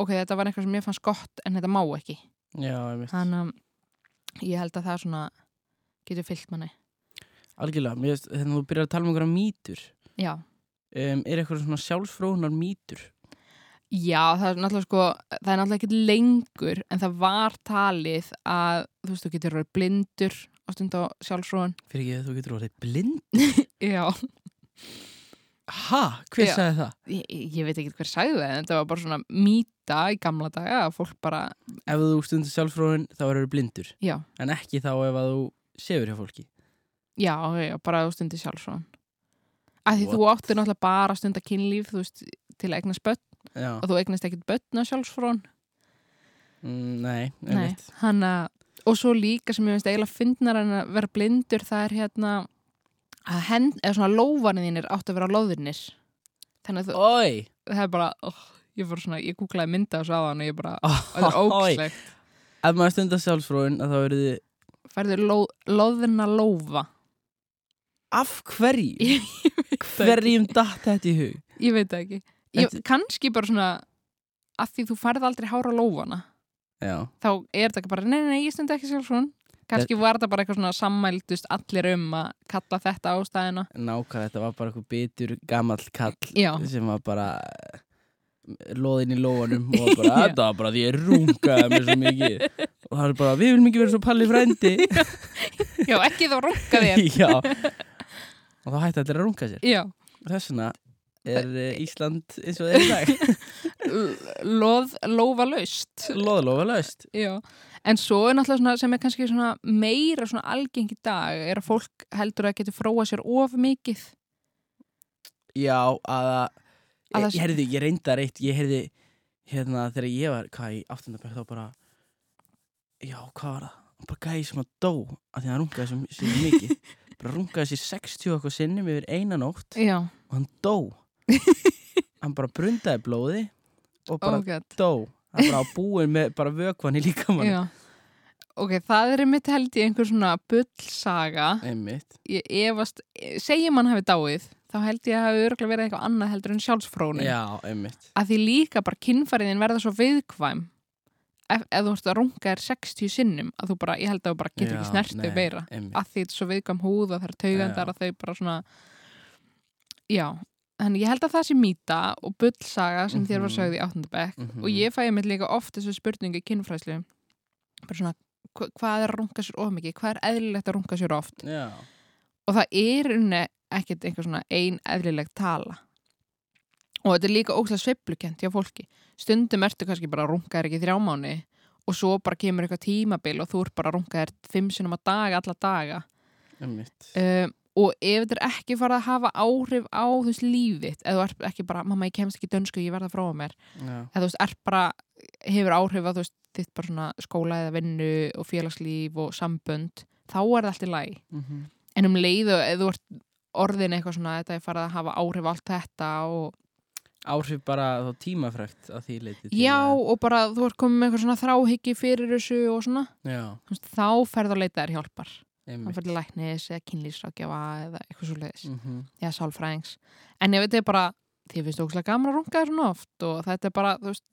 [SPEAKER 1] ok, þetta var eitthvað sem ég fannst gott en þetta má ekki
[SPEAKER 2] Já, einmitt
[SPEAKER 1] þannig að ég held að það svona getur fyllt manni
[SPEAKER 2] Algjörlega, mér veist, þegar þú byrjar að tala um einhverja mýtur
[SPEAKER 1] já,
[SPEAKER 2] um, er eitthvað svona sjálfsfróðunar mýtur
[SPEAKER 1] já það er náttúrulega sko það er náttúrulega ekki lengur en það var talið að þú veist, þú getur verið blindur á stund á sjálfsróðan
[SPEAKER 2] fyrir ekki að þú getur orðið blind
[SPEAKER 1] já,
[SPEAKER 2] Ha? Hver
[SPEAKER 1] Já.
[SPEAKER 2] sagði það?
[SPEAKER 1] ég, ég veit ekki hver sagði það en þetta var bara svona mýta í gamla daga að fólk bara,
[SPEAKER 2] Ef þú stundir sjálfsfróðun þá eru blindur
[SPEAKER 1] já,
[SPEAKER 2] en ekki þá ef að þú sefur hjá fólki
[SPEAKER 1] já, já bara á stundi sjálfsróðan að því þú áttir náttúrulega bara að stunda kynlíf þú veist, til að eignast börn
[SPEAKER 2] Já,
[SPEAKER 1] og þú eignast ekkit börn á sjálfsróðan
[SPEAKER 2] mm, nei,
[SPEAKER 1] Nei,
[SPEAKER 2] einmitt
[SPEAKER 1] hann að og svo líka sem ég finnst eiginlega fyndnar en að vera blindur það er hérna að hend, eða svona lófanir þínir átt að vera lóðirnir þannig að þú,
[SPEAKER 2] Oi!
[SPEAKER 1] það er bara oh, ég fór svona, ég googlaði mynda og sá hann og ég bara, það er
[SPEAKER 2] Oi!
[SPEAKER 1] ógslegt
[SPEAKER 2] Ef maður stundar sjálfsfróðun þá eru þið
[SPEAKER 1] færðu ló, lóðirna lófa
[SPEAKER 2] Af hverju?
[SPEAKER 1] ég,
[SPEAKER 2] Hverjum datt þetta í hug?
[SPEAKER 1] ég veit það ekki ég,
[SPEAKER 2] Þetta-
[SPEAKER 1] kannski bara svona að því þú færð aldrei hára lófana
[SPEAKER 2] Já,
[SPEAKER 1] þá er þetta ekki bara, nei, nei, ég stundi ekki sjálf svona kannski var þetta bara eitthvað svona sammældust allir um að kalla þetta ástæðina
[SPEAKER 2] nákvæmlega, þetta var bara eitthvað bitur gamall kall
[SPEAKER 1] já,
[SPEAKER 2] sem var bara loðin í lóanum og var bara,
[SPEAKER 1] Já.
[SPEAKER 2] þetta var bara því ég rungaði mér svo mikið og það er bara, við viljum ekki vera svo palli frændi
[SPEAKER 1] já, ekki þá runga þér
[SPEAKER 2] já og þá hætti allir að runga sér
[SPEAKER 1] Já,
[SPEAKER 2] þess vegna er eh, Ísland eins og það er í dag
[SPEAKER 1] loð, lófa laust
[SPEAKER 2] loðlófa löst
[SPEAKER 1] Já, en svo er náttúrulega svona sem er kannski svona meira svona algeng í dag er að fólk heldur að getur fróa sér of mikið
[SPEAKER 2] já, að,
[SPEAKER 1] Að það
[SPEAKER 2] að
[SPEAKER 1] sé-
[SPEAKER 2] ég, heyrði, ég reyndar eitt ég heyrði, hérna, þegar ég var hvað í áttundabæk, þá bara já, hvað var það? bara gæði sem að dó, af því að hann rungaði svo, svo mikið bara rungaði sér 60 og eitthvað sinnum yfir eina nótt
[SPEAKER 1] Já,
[SPEAKER 2] og hann dó hann bara brundaði blóði og bara
[SPEAKER 1] ógætt
[SPEAKER 2] dó hann bara á búin með bara vökvan í líkamann
[SPEAKER 1] Já Ok, það er einmitt held í einhver svona bullsaga
[SPEAKER 2] einmitt
[SPEAKER 1] ég efast, segjum hann hafi dáið þá held ég að hafi örgulega verið eitthvað annað heldur en sjálfsfrónin
[SPEAKER 2] já, einmitt
[SPEAKER 1] að því líka bara kynfæriðin verða svo viðkvæm ef, ef þú ert að runga þér 60 sinnum að þú bara, ég held að þú bara getur ekki
[SPEAKER 2] Já,
[SPEAKER 1] snert
[SPEAKER 2] nei,
[SPEAKER 1] þau meira Ah,
[SPEAKER 2] einmitt.
[SPEAKER 1] að því þetta er svo viðkvæm húð að það er taugandar
[SPEAKER 2] Já.
[SPEAKER 1] að þau bara svona já, þannig ég held að það sé mýta og bullsaga sem þér var
[SPEAKER 2] Mhm.
[SPEAKER 1] sögð í áttundabæk mm
[SPEAKER 2] Mhm.
[SPEAKER 1] og ég fæði mig líka oft þessu spurningu í kynfræslu bara svona, hva, hvað er að runga sér of mikið hvað er eðlilegt að runga sér oft
[SPEAKER 2] já,
[SPEAKER 1] og það er unni ekkert einhver svona ein eðlileg tala og þetta er líka ókslega sveiflukent hjá fólki stundum ertu kannski bara að runga þér ekki í þrjá mánu og svo bara kemur eitthvað tímabil og þú ert bara að runga þér fimm sinum að daga alla daga
[SPEAKER 2] einmitt
[SPEAKER 1] um, og ef þetta er ekki farið að hafa áhrif á þú veist lífitt, eða þú ert ekki bara mamma ég kemst ekki í dönsku, ég verða frá mér
[SPEAKER 2] já,
[SPEAKER 1] eða þú veist, ert bara, hefur áhrif að þú veist, þitt bara svona skóla eða vinnu og félagslíf og sambönd þá er það allt í lagi
[SPEAKER 2] mhm,
[SPEAKER 1] en um leiðu, ef þú ert orðin eitthvað svona, þetta er farið að hafa áhrif á allt þetta og
[SPEAKER 2] áhrif bara þá tímafrækt að því leiti til
[SPEAKER 1] já,
[SPEAKER 2] að-
[SPEAKER 1] og bara þú ert komið með eitthvað svona þráhyggi fyrir þessu og svona,
[SPEAKER 2] já,
[SPEAKER 1] þú veist, þá ferðu að leita þér hjálpar, þá
[SPEAKER 2] einmitt
[SPEAKER 1] ferðu læknis eða kynlýsrákjafa eða eitthvað svo leiðis
[SPEAKER 2] mhm,
[SPEAKER 1] eða sálfræðings en ég veit þið bara, þið finnst ókslega gaman að runga þér svona oft og þetta er bara, þú veist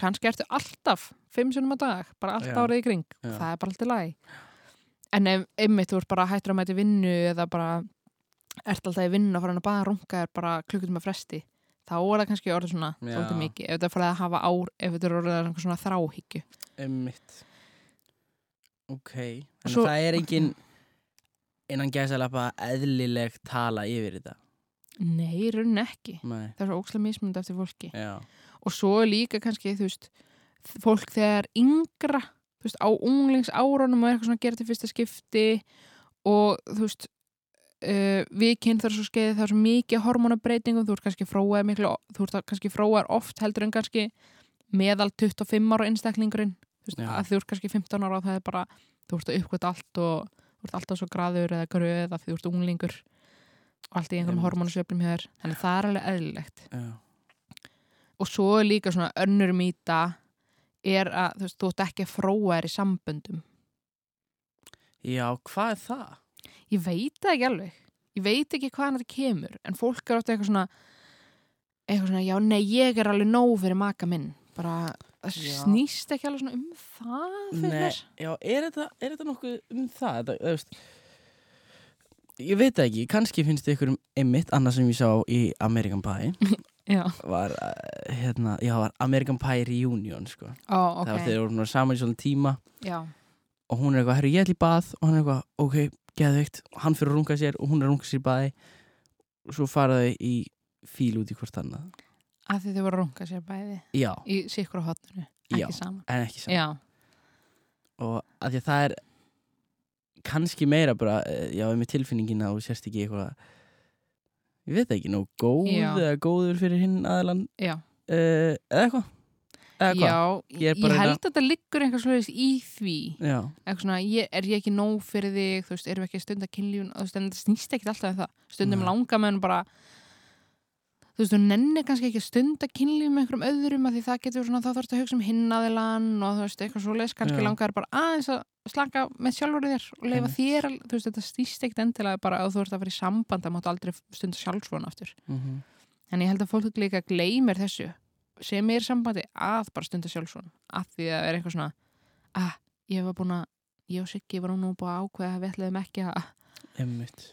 [SPEAKER 1] kannski ertu alltaf, fimm sinnum á dag bara allt
[SPEAKER 2] Já.
[SPEAKER 1] árið í kring,
[SPEAKER 2] Já.
[SPEAKER 1] það er bara allt í lagi en ef einmitt þú ert bara hættur að mæti vinnu eða bara ert alltaf í vinnu og farin að bara runga þér bara klukkutum að fresti þá er það kannski orðið svona
[SPEAKER 2] Já.
[SPEAKER 1] svolítið mikið, ef þetta er farið að hafa ár ef þetta er orðið að einhver svona þráhyggju
[SPEAKER 2] einmitt ok, þannig
[SPEAKER 1] Svo-
[SPEAKER 2] að það er engin innan gæsalappa eðlileg tala yfir þetta
[SPEAKER 1] nei, í rauninni ekki
[SPEAKER 2] nei,
[SPEAKER 1] það er svo ókslega mismunandi eftir fólki
[SPEAKER 2] já,
[SPEAKER 1] og svo er líka kannski þú veist, fólk þegar er yngra þú veist, á unglingsárunum og er eitthvað svona að gera til fyrsta skipti og þú veist uh, við kynþar svo skeiði það er svo mikið hormonabreitingum, þú ert kannski fróað miklu, þú ert kannski fróað oft heldur en kannski meðal 25 ára einstaklingurinn, þú veist,
[SPEAKER 2] Já.
[SPEAKER 1] að þú ert kannski 15 ára og það er bara, þú ert að uppkvæmt allt og þú ert alltaf svo graður eða gröð af því þú ert unglingur og allt í einhverjum
[SPEAKER 2] Einmitt.
[SPEAKER 1] hormonasjöfnum hjá þér þannig að það er alveg eðlilegt
[SPEAKER 2] já,
[SPEAKER 1] og svo er líka svona önnur mýta er að þú veist, þú ert ekki að fróa þér í samböndum
[SPEAKER 2] já, hvað er það?
[SPEAKER 1] ég veit það ekki alveg ég veit ekki hvaðan þetta kemur en fólk er ofta eitthvað svona eitthvað svona, já nei, ég er alveg nóg fyrir maka minn bara, það
[SPEAKER 2] Já.
[SPEAKER 1] snýst ekki alveg svona um það fyrir
[SPEAKER 2] Nei,
[SPEAKER 1] mér
[SPEAKER 2] já, er þetta, er þetta nokkuð um það? Þetta, það veist, ég veit það ekki, kannski finnst ykkur um einmitt annað sem ég sá í American Pie
[SPEAKER 1] já,
[SPEAKER 2] var, eh, hérna, já, var American Pie Reunion, sko.
[SPEAKER 1] ó,
[SPEAKER 2] Það var
[SPEAKER 1] ok
[SPEAKER 2] þegar voru nú saman í svolítið tíma
[SPEAKER 1] já,
[SPEAKER 2] og hún er eitthvað, herru, ég ætla í bað og hann er eitthvað, ok, geðveikt, hann fyrir að runga sér og hún er að runga sér í baði og svo fara þau í fíl út í hvort annað.
[SPEAKER 1] að því þau voru að runga sér bæði
[SPEAKER 2] Já,
[SPEAKER 1] í sikkur á hotnunu,
[SPEAKER 2] Já.
[SPEAKER 1] ekki saman
[SPEAKER 2] en ekki saman.
[SPEAKER 1] já,
[SPEAKER 2] og að því að það er kannski meira bara eh, já, með tilfinningin að þú sérst ekki eitthvað ég veit það ekki, nóg góð
[SPEAKER 1] Já.
[SPEAKER 2] eða góður fyrir hinn aðalan
[SPEAKER 1] já,
[SPEAKER 2] uh, eða eitthvað eða
[SPEAKER 1] já
[SPEAKER 2] hvað, Ég
[SPEAKER 1] ég,
[SPEAKER 2] er bara að reyna-
[SPEAKER 1] held að þetta liggur einhvers vegar í því
[SPEAKER 2] já,
[SPEAKER 1] eitthvað svona, ég, er ég ekki nóg fyrir þig þú veist, erum við ekki að stunda kynlífun þú veist, en þetta snýst ekki alltaf um það, stundum
[SPEAKER 2] Nei.
[SPEAKER 1] langar menn bara þú veist, þú nennir kannski ekki að stunda kynlífun með einhverjum öðrum að því það getur svona, þá þarfst að hugsa um hinnaðilan og þú veist, eitthvað svo leis, kannski
[SPEAKER 2] Já.
[SPEAKER 1] langar þér bara aðeins að slaka með sjálfur þér og leifa
[SPEAKER 2] Einmitt.
[SPEAKER 1] þér, að- þú veist, þetta snýst ekki endilega bara að þú ert að vera í samband, það máttu aldrei stunda sjálfsvon aftur,
[SPEAKER 2] mm
[SPEAKER 1] en ég held að fólk líka gleymir þessu sem er í sambandi að bara stunda sjálfsvon að því að það er eitthvað svona að ég var búin að ég og Siggi var nú búin að ákveða að við ætlaðum ekki að
[SPEAKER 2] emmitt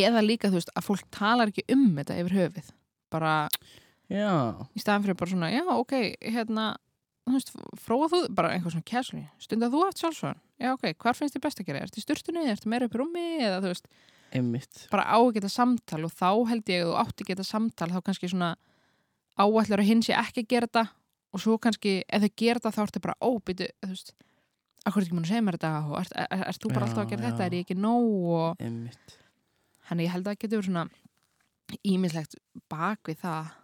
[SPEAKER 1] eða líka þú veist að fólk talar ekki um þetta yfir höfuð bara
[SPEAKER 2] já,
[SPEAKER 1] í staðan fyrir bara svona já ok hérna þú veist fróða þú bara einhver svona kjærslu stunda þú aft sjálfsvon já ok hvar finnst þið best að gera ertu í styrtunni ertu meira upp í rúmi eða þú veist
[SPEAKER 2] emmitt
[SPEAKER 1] bara á að geta samtal og þá held ég að þú átti að geta samtal þá kannski svona áallar að hinn sé ekki að gera þetta og svo kannski ef þau gera þetta þá ertu bara óbyttu þú veist, akkur er ekki múin að segja mér þetta og ert, er, er, ert þú bara
[SPEAKER 2] Já,
[SPEAKER 1] alltaf að gera
[SPEAKER 2] já.
[SPEAKER 1] þetta, er ég ekki nóg og
[SPEAKER 2] emmitt
[SPEAKER 1] hann ég held að það getur verið svona ímislegt bak við það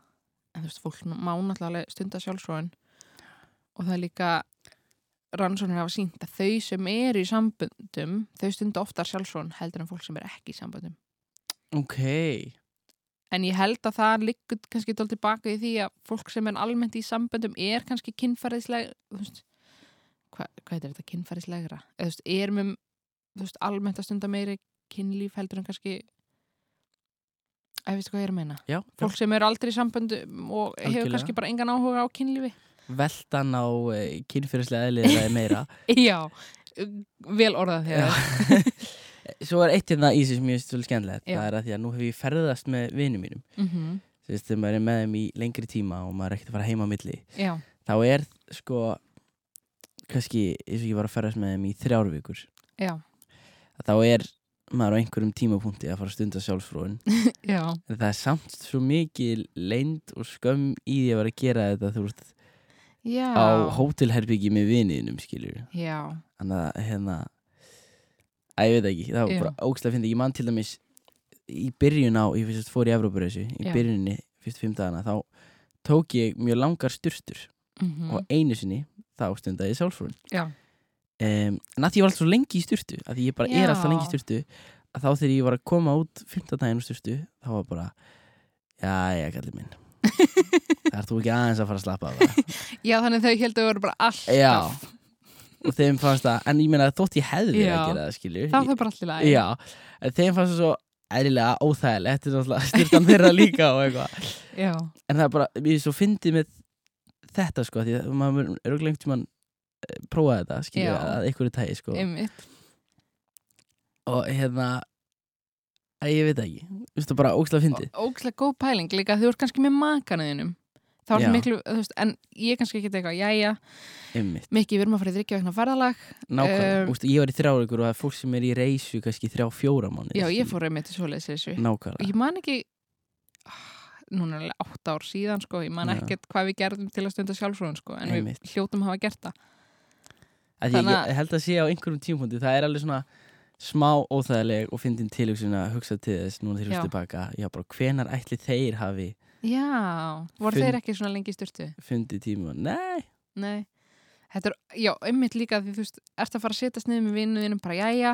[SPEAKER 1] en þú veist, fólk má náttúrulega alveg stunda sjálfsvóðin og það er líka rannsóknir hafa sínt að þau sem eru í samböndum þau stunda oftar sjálfsvóðin heldur en fólk sem er ekki í samböndum
[SPEAKER 2] ok,
[SPEAKER 1] En ég held að það liggur kannski dálítið baka í því að fólk sem er almennt í samböndum er kannski kynfæriðslegra, þú veist, hva, hvað heitir þetta, kynfæriðslegra? Eða þú veist, er með, þú veist, almennt að stunda meiri kynlíf heldur en kannski, að veistu hvað ég er að meina?
[SPEAKER 2] já,
[SPEAKER 1] Fólk sem eru aldrei í samböndum og hefur
[SPEAKER 2] Algjörlega.
[SPEAKER 1] kannski bara engan áhuga á kynlífi.
[SPEAKER 2] veltan á uh, kynfyrirslega eðliðra er meira
[SPEAKER 1] Já, vel orðað þegar.
[SPEAKER 2] svo er eitt hérna í þessu sem ég veist svolítið skemmtilegt
[SPEAKER 1] Já.
[SPEAKER 2] það er að því að nú hef ég ferðast með vinum mínum
[SPEAKER 1] Já. Mm -hmm.
[SPEAKER 2] þú veist, þegar maður er með þeim í lengri tíma og maður er ekkert að fara heima á milli
[SPEAKER 1] Já.
[SPEAKER 2] þá er sko kannski eins og ég var að ferðast með þeim í þrjár vikur
[SPEAKER 1] Já.
[SPEAKER 2] að þá er maður á einhverjum tímapunkti að fara að stunda sjálfsfróun
[SPEAKER 1] Já.
[SPEAKER 2] en það er samt svo mikið leind og skömm í því að vera að gera þetta þú veist
[SPEAKER 1] Já.
[SPEAKER 2] á hótelherbyggi með viniðinum skilur
[SPEAKER 1] Já.
[SPEAKER 2] þannig að hérna Æ, ég veit það ekki, það var
[SPEAKER 1] Já.
[SPEAKER 2] bara ógstlega fyndið Ég man til dæmis í byrjun á Ég fyrst fór í Evrópureysu, í
[SPEAKER 1] Já.
[SPEAKER 2] byrjunni Fyrstu fimm dagana, þá tók ég mjög langar sturtur
[SPEAKER 1] Mhm.
[SPEAKER 2] Og einu sinni, þá stundaði ég sálfrún
[SPEAKER 1] Já,
[SPEAKER 2] um, En að því ég var alltaf svo lengi í styrtu Að því ég bara
[SPEAKER 1] Já.
[SPEAKER 2] er alltaf lengi í styrtu Að þá þegar ég var að koma út 15 daginn úr styrtu Þá var bara Jæja, kallið minn Það ert þú ekki aðeins að fara að slappa af það
[SPEAKER 1] já þannig þau heldur að voru bara alltaf
[SPEAKER 2] Já Og þeim fannst það, en ég meina þótt ég hefði verið
[SPEAKER 1] Já.
[SPEAKER 2] að gera það skilju
[SPEAKER 1] Það þau bara allir lagi
[SPEAKER 2] Já, en þeim fannst það svo eðlilega óþægilegt Þetta er náttúrulega styrtan þeirra líka og eitthvað
[SPEAKER 1] já.
[SPEAKER 2] en það er bara, ég er svo fyndið með þetta sko, því að maður er auðvitað lengt tímann eh, prófað þetta, skilja
[SPEAKER 1] Já.
[SPEAKER 2] að einhverju tægi sko
[SPEAKER 1] einmitt
[SPEAKER 2] og hérna að ég veit það ekki, þú veist það bara ógslag fyndið
[SPEAKER 1] Og ógeðslega góð pæling líka þú ert kannski með makanuðinum þá er
[SPEAKER 2] Já.
[SPEAKER 1] það miklu, þú veist, en ég kannski ekki eitthvað, jæja,
[SPEAKER 2] ymmið,
[SPEAKER 1] mikið við erum að fara í þryggja vegna ferðalag,
[SPEAKER 2] nákvæmlega,
[SPEAKER 1] Um,
[SPEAKER 2] um, ég var í þrjá ykkur og það er fólk sem er í reysu kannski þrjá fjóra mánu
[SPEAKER 1] já, ég fór einmitt í svoleiðis þessu,
[SPEAKER 2] Mm,
[SPEAKER 1] og
[SPEAKER 2] nákvæmlega,
[SPEAKER 1] ég man ekki ah, núna er alveg átt ár síðan sko, ég man
[SPEAKER 2] Já.
[SPEAKER 1] ekkert hvað við gerðum til að stunda sjálfsfróðun sko, en
[SPEAKER 2] Einmitt.
[SPEAKER 1] við hljótum að hafa gert það
[SPEAKER 2] að ég,
[SPEAKER 1] þannig að-
[SPEAKER 2] ég held að sé á einhverjum tímpunkti, það er alveg svona smá óþægileg og fyndin tilhugsun að hugsa til þess núna þegar
[SPEAKER 1] Já.
[SPEAKER 2] þú tilbaka já bara hvenar ætli þeir hafi
[SPEAKER 1] já, voru
[SPEAKER 2] Fund-
[SPEAKER 1] þeir ekki svona lengi í styrtu?
[SPEAKER 2] fundið tíma, nei,
[SPEAKER 1] Nei, þetta er, já, einmitt líka því þú veist, ert að fara að setjast niður með vinnuðinum bara, jæja,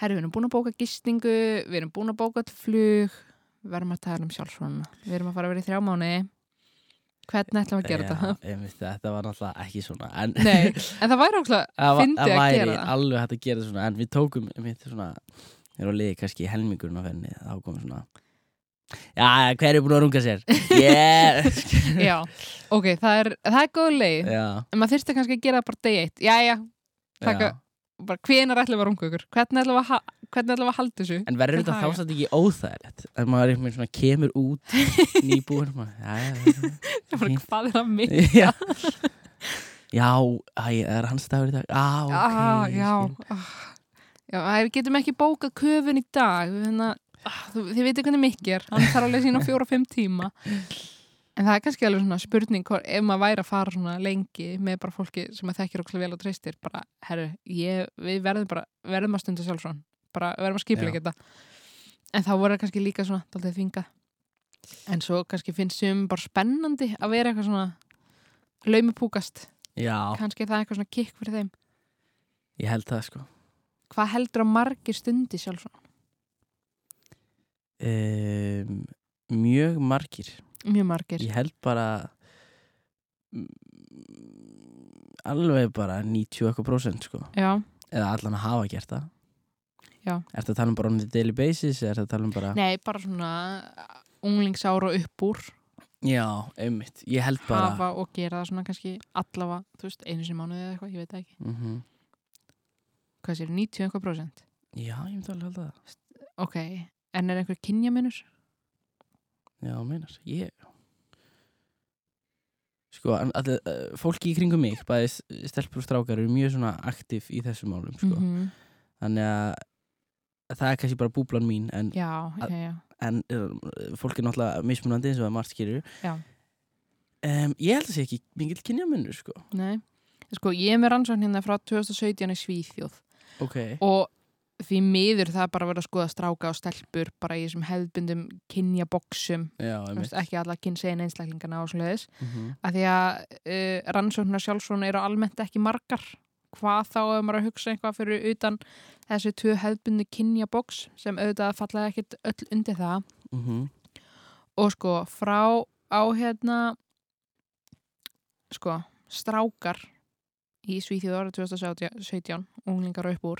[SPEAKER 1] herru, við erum búin að bóka gistingu, við erum búin að bóka til flug, við verðum að tala um sjálfsvona, við erum að fara að vera í þrjá mánu, hvernig ætlum við að gera þetta?
[SPEAKER 2] Já, einmitt, þetta var náttúrulega ekki svona en,
[SPEAKER 1] Nei, en það væri ókslega,
[SPEAKER 2] það, var-
[SPEAKER 1] fyndið
[SPEAKER 2] það
[SPEAKER 1] að
[SPEAKER 2] væri
[SPEAKER 1] gera það.
[SPEAKER 2] alveg hægt að gera það svona en við tókum einmitt svona við erum að liði kannski helmingurinn á fenni þá komum svona já, hver er búin að runga sér yeah
[SPEAKER 1] já, ok, það er, það er góð leið,
[SPEAKER 2] já,
[SPEAKER 1] en maður þyrfti kannski að gera það bara day 1, jæja,
[SPEAKER 2] já.
[SPEAKER 1] taka, bara hvenar ætlum við að runga ykkur, hvernig ætlum við að, ha- hvernig ætlum við að halda þessu?
[SPEAKER 2] en verður
[SPEAKER 1] Til
[SPEAKER 2] þetta
[SPEAKER 1] haga.
[SPEAKER 2] þá satt ekki óþægilegt að maður einhvern veginn svona kemur út nýbúin maður, já,
[SPEAKER 1] Bara,
[SPEAKER 2] fínt.
[SPEAKER 1] Hvað er að mig?
[SPEAKER 2] já, já já, æ, það er hans dagur í dag á, ok
[SPEAKER 1] ah,
[SPEAKER 2] ég
[SPEAKER 1] já,
[SPEAKER 2] skil.
[SPEAKER 1] ah. já að við getum ekki bókað köfun í dag við hérna, ah, þú, þið veitir hvernig mikið er hann þarf alveg sína fjóra-fimm tíma en það er kannski alveg svona spurning hvor, ef maður væri að fara svona lengi með bara fólki sem að þekkir okkur vel og treystir bara, herru, ég, við verðum bara verðum að stunda sjálfsvon, bara verðum að skipla
[SPEAKER 2] Já.
[SPEAKER 1] þetta en þá voru það kannski líka svona daldið þvinga en svo kannski finnst sem bara spennandi að vera eitthvað svona laumupúkast,
[SPEAKER 2] já,
[SPEAKER 1] kannski er það eitthvað svona kikk fyrir þeim
[SPEAKER 2] ég held það sko
[SPEAKER 1] hvað heldur að margir stundi sjálfsvon?
[SPEAKER 2] um, mjög margir
[SPEAKER 1] Mjög margir.
[SPEAKER 2] ég held bara mm, alveg bara 90 eitthvað prósent sko
[SPEAKER 1] Já.
[SPEAKER 2] eða allan að hafa gert það
[SPEAKER 1] Já.
[SPEAKER 2] Er það að tala um bara on the daily basis er það að tala um bara
[SPEAKER 1] Nei, bara svona unglingsár og upp úr
[SPEAKER 2] Já, einmitt, ég held bara
[SPEAKER 1] hafa og gera það svona kannski allavega, þú veist, einu sinni í mánuði eða eitthvað, ég veit það ekki.
[SPEAKER 2] Mhm.
[SPEAKER 1] Hvað sér, 90 eitthvað prósent?
[SPEAKER 2] Já, ég myndi alveg held það
[SPEAKER 1] Ok, en er einhver kynjaminur?
[SPEAKER 2] Já, meinar, ég Sko, en allir, uh, fólki í kringum mig bæði s- stelpur og strákar eru mjög svona aktiv í þessum málum, sko
[SPEAKER 1] -hmm.
[SPEAKER 2] þannig að það er kannski bara búblan mín en
[SPEAKER 1] Já,
[SPEAKER 2] Að-
[SPEAKER 1] já, já.
[SPEAKER 2] en uh, fólk er náttúrulega mismunandi eins og það margt skilur
[SPEAKER 1] Já.
[SPEAKER 2] um, ég held að sé ekki mingill kynjamunur sko.
[SPEAKER 1] Nei. Sko, ég er með rannsókn hérna frá 2017 í Svíþjóð
[SPEAKER 2] ok,
[SPEAKER 1] og því miður það er bara að vera að skoða stráka og stelpur bara í þessum hefðbundum kynjaboksum,
[SPEAKER 2] já,
[SPEAKER 1] þú
[SPEAKER 2] einmitt
[SPEAKER 1] veist, ekki alla kynsegin einstaklingana og svoleiðis
[SPEAKER 2] mm -hmm.
[SPEAKER 1] að því að uh, rannsóknar sjálfsvona eru almennt ekki margar hvað þá ef maður er að hugsa eitthvað fyrir utan þessi tvö hefðbundu kynjaboks sem auðvitað fallaði ekkit öll undir það
[SPEAKER 2] Mhm.
[SPEAKER 1] og sko frá á hérna sko strákar í Svíþjóð árið 2017 unglingar og upp úr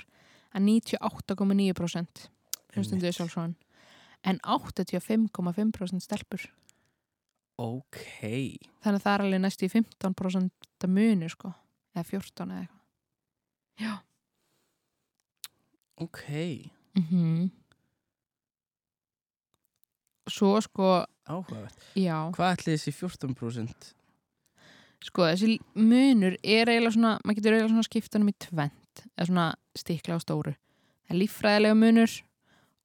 [SPEAKER 1] að 98,9% hlustundu
[SPEAKER 2] Einmitt.
[SPEAKER 1] sjálfsvona en 85,5% stelpur
[SPEAKER 2] ok
[SPEAKER 1] þannig að það er alveg næst í 15% munu sko, eða 14 eða eitthvað
[SPEAKER 2] ok,
[SPEAKER 1] mm svo sko
[SPEAKER 2] áhugavert
[SPEAKER 1] já,
[SPEAKER 2] hvað ætli þessi 14%
[SPEAKER 1] sko þessi munur er eiginlega svona, maður getur eiginlega svona skiptunum í tvent, eða svona stikla á stóru það er líffræðilega munur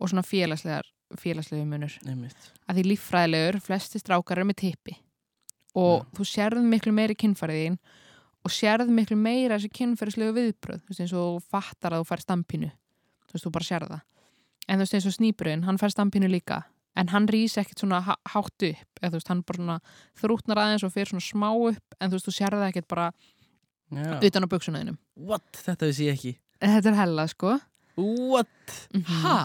[SPEAKER 1] og svona félagslegar félagslega munur,
[SPEAKER 2] einmitt
[SPEAKER 1] að því líffræðilegur flesti strákar eru með tippi og þú sérðu miklu meiri kynfæriðin og sérðu miklu meira þessi kynfærislegu viðbröð, þú veist eins og þú fattar að þú færi stampinu þú veist, þú bara sér það en þú veist, eins og snýpurinn, hann fær stampinu líka en hann rís ekkert svona há- hátt upp eða þú veist, hann bara svona þrútnar aðeins og fyrir svona smá upp, en þú veist, þú sér það ekkert bara
[SPEAKER 2] Já.
[SPEAKER 1] utan á buksunaðinum
[SPEAKER 2] What? Þetta vissi ég ekki.
[SPEAKER 1] þetta er hella, sko
[SPEAKER 2] What?
[SPEAKER 1] mm
[SPEAKER 2] Ha?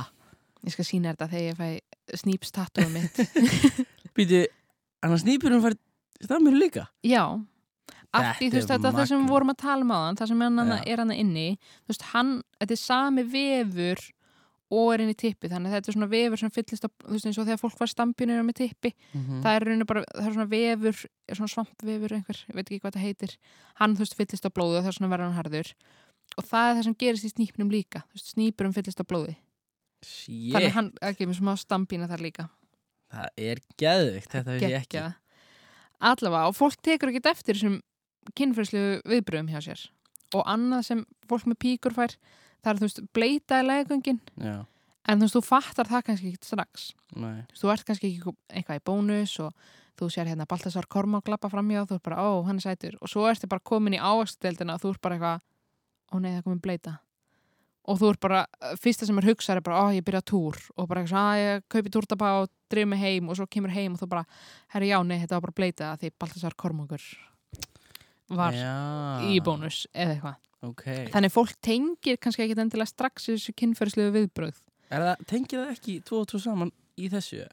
[SPEAKER 1] ég skal sína þetta þegar ég fæ snýpstatuðum mitt
[SPEAKER 2] Býtu, annars snýpurum fær stammur líka.
[SPEAKER 1] já, allt í
[SPEAKER 2] Þetta
[SPEAKER 1] þú veist,
[SPEAKER 2] er
[SPEAKER 1] þetta það sem
[SPEAKER 2] magnað.
[SPEAKER 1] við vorum að tala um á hann það sem hann hann
[SPEAKER 2] Já.
[SPEAKER 1] er hann inni þú veist, hann, þetta er sami vefur og er inn í tippi, þannig að þetta er svona vefur sem fyllist á, þú veist, eins og þegar fólk var stampinu með tippi
[SPEAKER 2] Mm.
[SPEAKER 1] það er rauninu bara, það er svona vefur svona svampvefur einhver, ég veit ekki hvað það heitir hann þú veist fyllist á blóðu og það er svona verðan harður og það er það sem gerist í snýpnum líka þú veist, snýpurum fyllist á blóði þannig að
[SPEAKER 2] Shit,
[SPEAKER 1] hann að gefur smá stampína þar líka
[SPEAKER 2] það er geðvikt, þetta vissi ég ekki.
[SPEAKER 1] Geggjað. allavega, og fólk tekur ekki eftir þessum kynferðslu viðbröðum hjá sér og annað sem fólk með píkur fær það er þú veist, bleita í legungin
[SPEAKER 2] Já,
[SPEAKER 1] en þú veist, þú fattar það kannski ekki strax
[SPEAKER 2] nei.
[SPEAKER 1] Þú veist, þú ert kannski ekki eitthvað í bónus og þú sér hérna Baltasar Kormák lappa framjá og þú ert bara, ó, hann er sætur og svo ertu bara komin í ávaksdeldina og þú ert bara eitthvað, ó nei, það er komin bleita og þú ert bara, eh, fyrsta sem er hugsað er bara, ó, ég byrja á túr og bara eitthvað, að ég kaupi túrtapa og dreif mig heim og svo kemur heim og þú bara, herri, já, nei, þetta var bara bleita af því Baltasar Kormákur var
[SPEAKER 2] Já.
[SPEAKER 1] í bónus eða eitthvað.
[SPEAKER 2] Ok.
[SPEAKER 1] Þannig fólk tengir kannski ekki endilega strax þessu kynferðslegu viðbrögð
[SPEAKER 2] Er það, tengið það ekki tvo og tvo saman í þessu?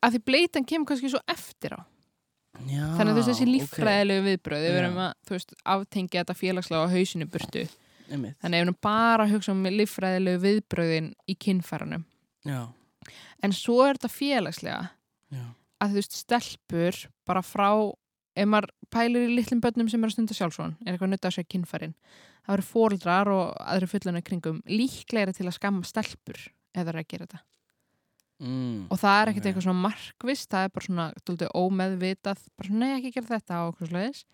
[SPEAKER 1] af því bleitan kemur kannski svo eftir á
[SPEAKER 2] Já.
[SPEAKER 1] þannig að þú veist þessi
[SPEAKER 2] Ah, ok.
[SPEAKER 1] líffræðilegu viðbröð við
[SPEAKER 2] Já.
[SPEAKER 1] verum að þú veist, aftengja þetta félagslega á hausinu burtu
[SPEAKER 2] Einmitt.
[SPEAKER 1] þannig að við erum bara að hugsa um líffræðilegu viðbröðin í kynfæranum
[SPEAKER 2] Já,
[SPEAKER 1] en svo er þetta félagslega
[SPEAKER 2] já.
[SPEAKER 1] að þú veist stelpur bara frá ef maður pælir í litlum börnum sem eru að stunda sjálfsvon er eitthvað nötta að segja kynfærin það eru fóreldrar og aðri fullunum kringum líklegri til að skamma stelpur ef það er að gera þetta
[SPEAKER 2] Mm.
[SPEAKER 1] og það er ekkert
[SPEAKER 2] Ok.
[SPEAKER 1] eitthvað svona markvist það er bara svona daldið ómeðvitað bara svona nei ekki gera þetta og okkur slæðis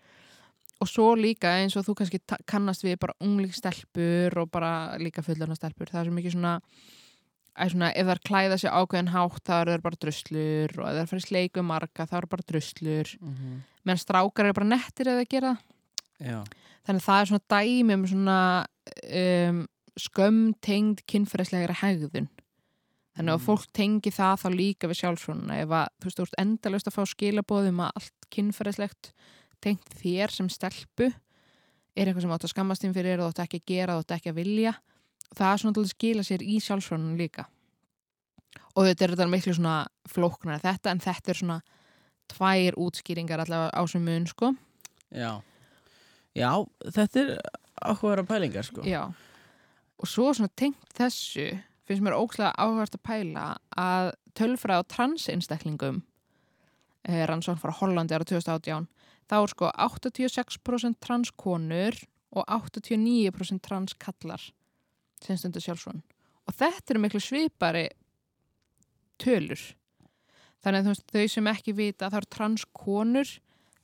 [SPEAKER 1] og svo líka eins og þú kannski ta- kannast við bara unglíkstelpur og bara líka fullanastelpur það er svo mikið svona, að svona ef þær klæða sér ákveðin hátt þá eru þær bara druslur og ef þær fyrir sleiku marga þá eru bara druslur
[SPEAKER 2] Mhm.
[SPEAKER 1] meðan strákar eru bara nettir eða gera það.
[SPEAKER 2] Já,
[SPEAKER 1] þannig að það er svona dæmi um svona um, skömmtengd kynferðislegri hegðun þannig að
[SPEAKER 2] Mm.
[SPEAKER 1] fólk tengi það þá líka við sjálfsvonuna ef að þú veist, þú ert endalaust að fá skilabóðum að allt kynferðislegt tengt þér sem stelpu er eitthvað sem átt að skammast þín fyrir og átt ekki að gera, átt ekki að vilja það er svona til að skila sér í sjálfsvonun líka og þetta er þetta miklu svona flóknar þetta en þetta er svona tvær útskýringar allavega á sem mun sko
[SPEAKER 2] já. Já, þetta er áhugaðara pælingar, sko.
[SPEAKER 1] Já, og svo svona tengt þessu finnst mér ókslega áhvert að pæla að tölfræð á transinnstaklingum eh, rannsókn frá Hollandi ára 2018 þá er sko 86% transkonur og 89% transkallar sem stundur sjálfsvon og þetta eru miklu svipari tölur þannig að þú veist, þau sem ekki vita þá eru transkonur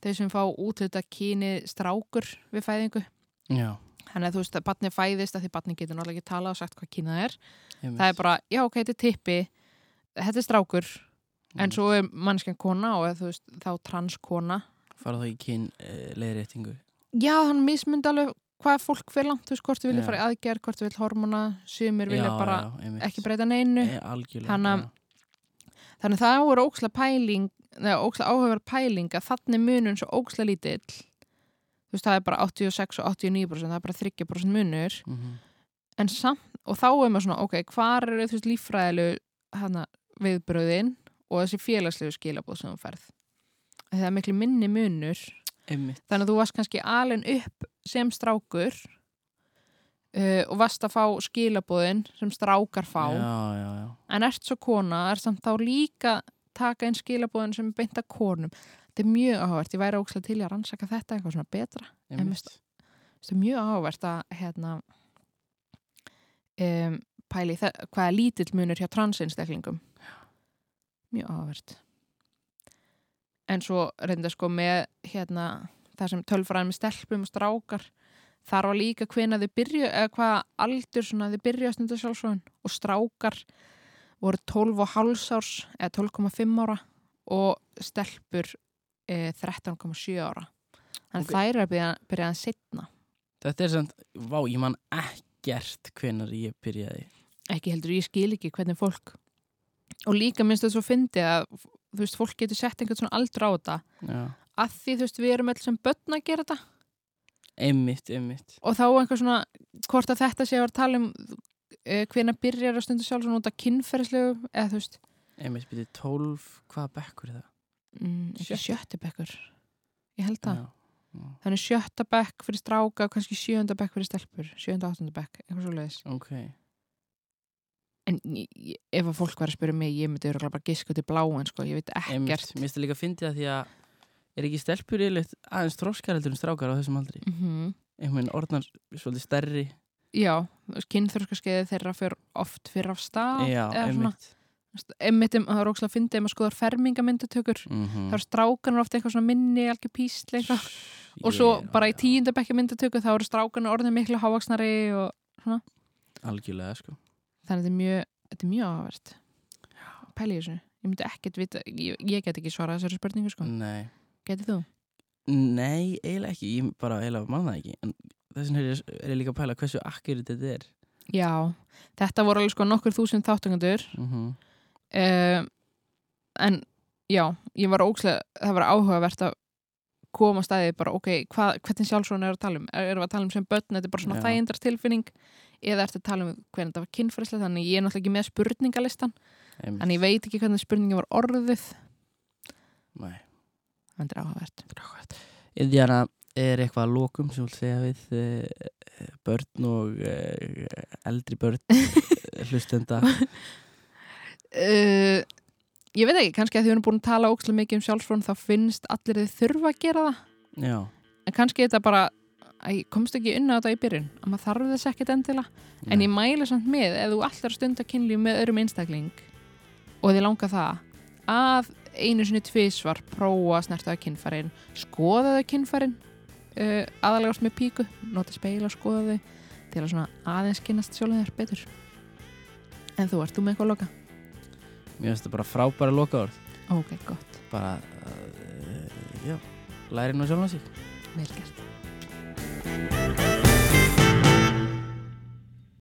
[SPEAKER 1] þau sem fá útlita kyni strákur við fæðingu
[SPEAKER 2] Já,
[SPEAKER 1] Þannig að þú veist að batni fæðist að því batni getur náttúrulega ekki tala og sagt hvað kynað er.
[SPEAKER 2] einmitt.
[SPEAKER 1] Það er bara, já ok, þetta er tippi, þetta er strákur, en svo er mannskjan kona og þú veist, þá transkona.
[SPEAKER 2] Fara þá í kyn uh, leiðréttingu.
[SPEAKER 1] Já, hann mismyndi alveg hvað fólk vil langt, þú veist, hvort þau vilja
[SPEAKER 2] Já.
[SPEAKER 1] fara í aðgerð, hvort þau vil hormona, sumir vilja
[SPEAKER 2] já,
[SPEAKER 1] bara
[SPEAKER 2] já, einmitt.
[SPEAKER 1] ekki breyta neinu.
[SPEAKER 2] Eh, algjörlega.
[SPEAKER 1] Þannig að- Þannig að það voru óksla pæling, neða óksla áhöfur pæling að þannig munun svo óksla lítill, þú veist, það er bara 86 og 89%, það er bara 30% munur.
[SPEAKER 2] já. Mhm.
[SPEAKER 1] en samt, og þá er maður svona ok, hvar eru þú veist líffræðilu hana, viðbröðin og þessi félagslegu skilabóð sem þú ferð Af því það er miklu minni munur
[SPEAKER 2] Einmitt.
[SPEAKER 1] þannig að þú varst kannski alin upp sem strákur uh, og varst að fá skilabóðin sem strákar fá
[SPEAKER 2] Já, já, já.
[SPEAKER 1] en ert svo kona, er samt þá líka taka inn skilabóðin sem er beint að konum þetta er mjög áhvert, ég væri ókslega til í að rannsaka þetta eitthvað svona betra Einmitt. þetta er mjög áhverst að hérna um, pæli hvaða lítill munur hjá transinstaklingum mjög áhverst en svo reynda sko með hérna það sem tölfræðin með stelpum og strákar þar var líka hvena þau byrju eða hvaða aldur svona þau byrju að stunda sjálfsvöðun og strákar voru 12 og háls árs eða 12,5 ára og stelpur e, 13,7 ára þannig
[SPEAKER 2] Ok.
[SPEAKER 1] þær eru að byrja, byrja að setna
[SPEAKER 2] Þetta er samt, vá, ég man ekkert hvenar ég byrjaði
[SPEAKER 1] ekki heldur, ég skil ekki hvernig fólk og líka minnst þetta svo fyndi að þú veist, fólk getur sett einhvern svona aldra á þetta
[SPEAKER 2] já.
[SPEAKER 1] að því þú veist, við erum öll sem börn að gera þetta
[SPEAKER 2] Einmitt, einmitt
[SPEAKER 1] og þá einhver svona, hvort að þetta sé að vera að tala um uh, hvena byrjar að stundu sjálf svona út af kynferðslegu eða þú veist,
[SPEAKER 2] Einmitt byrju 12, hvaða bekkur er það?
[SPEAKER 1] mm, ekki
[SPEAKER 2] Sjötti.
[SPEAKER 1] sjötti bekkur ég held það
[SPEAKER 2] Já, já,
[SPEAKER 1] þannig sjötta bekk fyrir stráka og kannski sjöunda bekk fyrir stelpur, sjöunda áttunda bekk eitthvað svo leiðis
[SPEAKER 2] ok
[SPEAKER 1] en ég- ég- ef að fólk var að spyrja mig ég myndi örugglega bara giska út í bláin sko. ég veit
[SPEAKER 2] Einmitt,
[SPEAKER 1] ekkert
[SPEAKER 2] mér finnst það líka að fyndi það því að er ekki stelpur yfirleitt aðeins þróskar heldur en strákar á þessum aldri
[SPEAKER 1] mm
[SPEAKER 2] einhvern veginn orðnar svolítið stærri
[SPEAKER 1] já, kynþörskaskeiði þeirra fyrir oft fyrir af stað
[SPEAKER 2] Já,
[SPEAKER 1] eða svona,
[SPEAKER 2] einmitt
[SPEAKER 1] einmitt um, það er ókslega að fyndi ef maður skoðar fermingamyndutökur
[SPEAKER 2] mm -hmm.
[SPEAKER 1] þá er strákanur ofta eitthvað svona minni algjör písl eitthvað og svo bara í tíunda bekki myndutöku þá eru strákanur orðin miklu hávaksnari og
[SPEAKER 2] Algjörlega, sko
[SPEAKER 1] þannig að þetta er mjög, þetta er mjög áhverst pæli þessu, ég myndi ekkert vita ég, ég get ekki svarað þessari spurningu sko
[SPEAKER 2] Nei,
[SPEAKER 1] getið þú?
[SPEAKER 2] Nei eiginlega ekki, ég bara eiginlega manna það ekki en þessin er, er ég líka að pæla hversu akkurat þetta er
[SPEAKER 1] Já, þetta voru alveg sko nokkur þúsund þáttungandur
[SPEAKER 2] mm
[SPEAKER 1] um, en já, ég var ókslega það var áhugavert að koma að staðið bara, ok, hva, hvernig sjálfsvona er að tala um er, erum við að tala um sem börn, þetta er bara svona
[SPEAKER 2] Já.
[SPEAKER 1] þægindar tilfinning eða ertu að tala um hvernig þetta var kynfærislega þannig ég er náttúrulega ekki með spurningalistan en ég veit ekki hvernig spurningin var orðuð
[SPEAKER 2] Nei
[SPEAKER 1] en þetta er áhugavert
[SPEAKER 2] Indiana, er eitthvað að lokum sem vil segja við eh, börn og eh, eldri börn eh, hlustenda
[SPEAKER 1] uh, ég veit ekki, kannski að þið erum búin að tala ókslega mikið um sjálfsfrón þá finnst allir þið þurfa að gera það
[SPEAKER 2] Já
[SPEAKER 1] en kannski þetta bara að ég komst ekki inn á þetta í byrjun að maður þarf þess ekkert endilega en ég mæla samt með ef þú allar að stunda kynlíf með öðrum einstakling og þið langa það að einu sinni tvisvar prófa að snerta að kynfærin skoða þau kynfærin uh, aðalegast með píku, nota speila og skoða þau til að svona aðeins kynast sjálfum þér betur en þú ert þú með eitthvað að loka?
[SPEAKER 2] Mér finnst þetta bara frábæra lokaður
[SPEAKER 1] ok, gott,
[SPEAKER 2] bara, uh, já, læri nú sjálf á sig
[SPEAKER 1] vel gert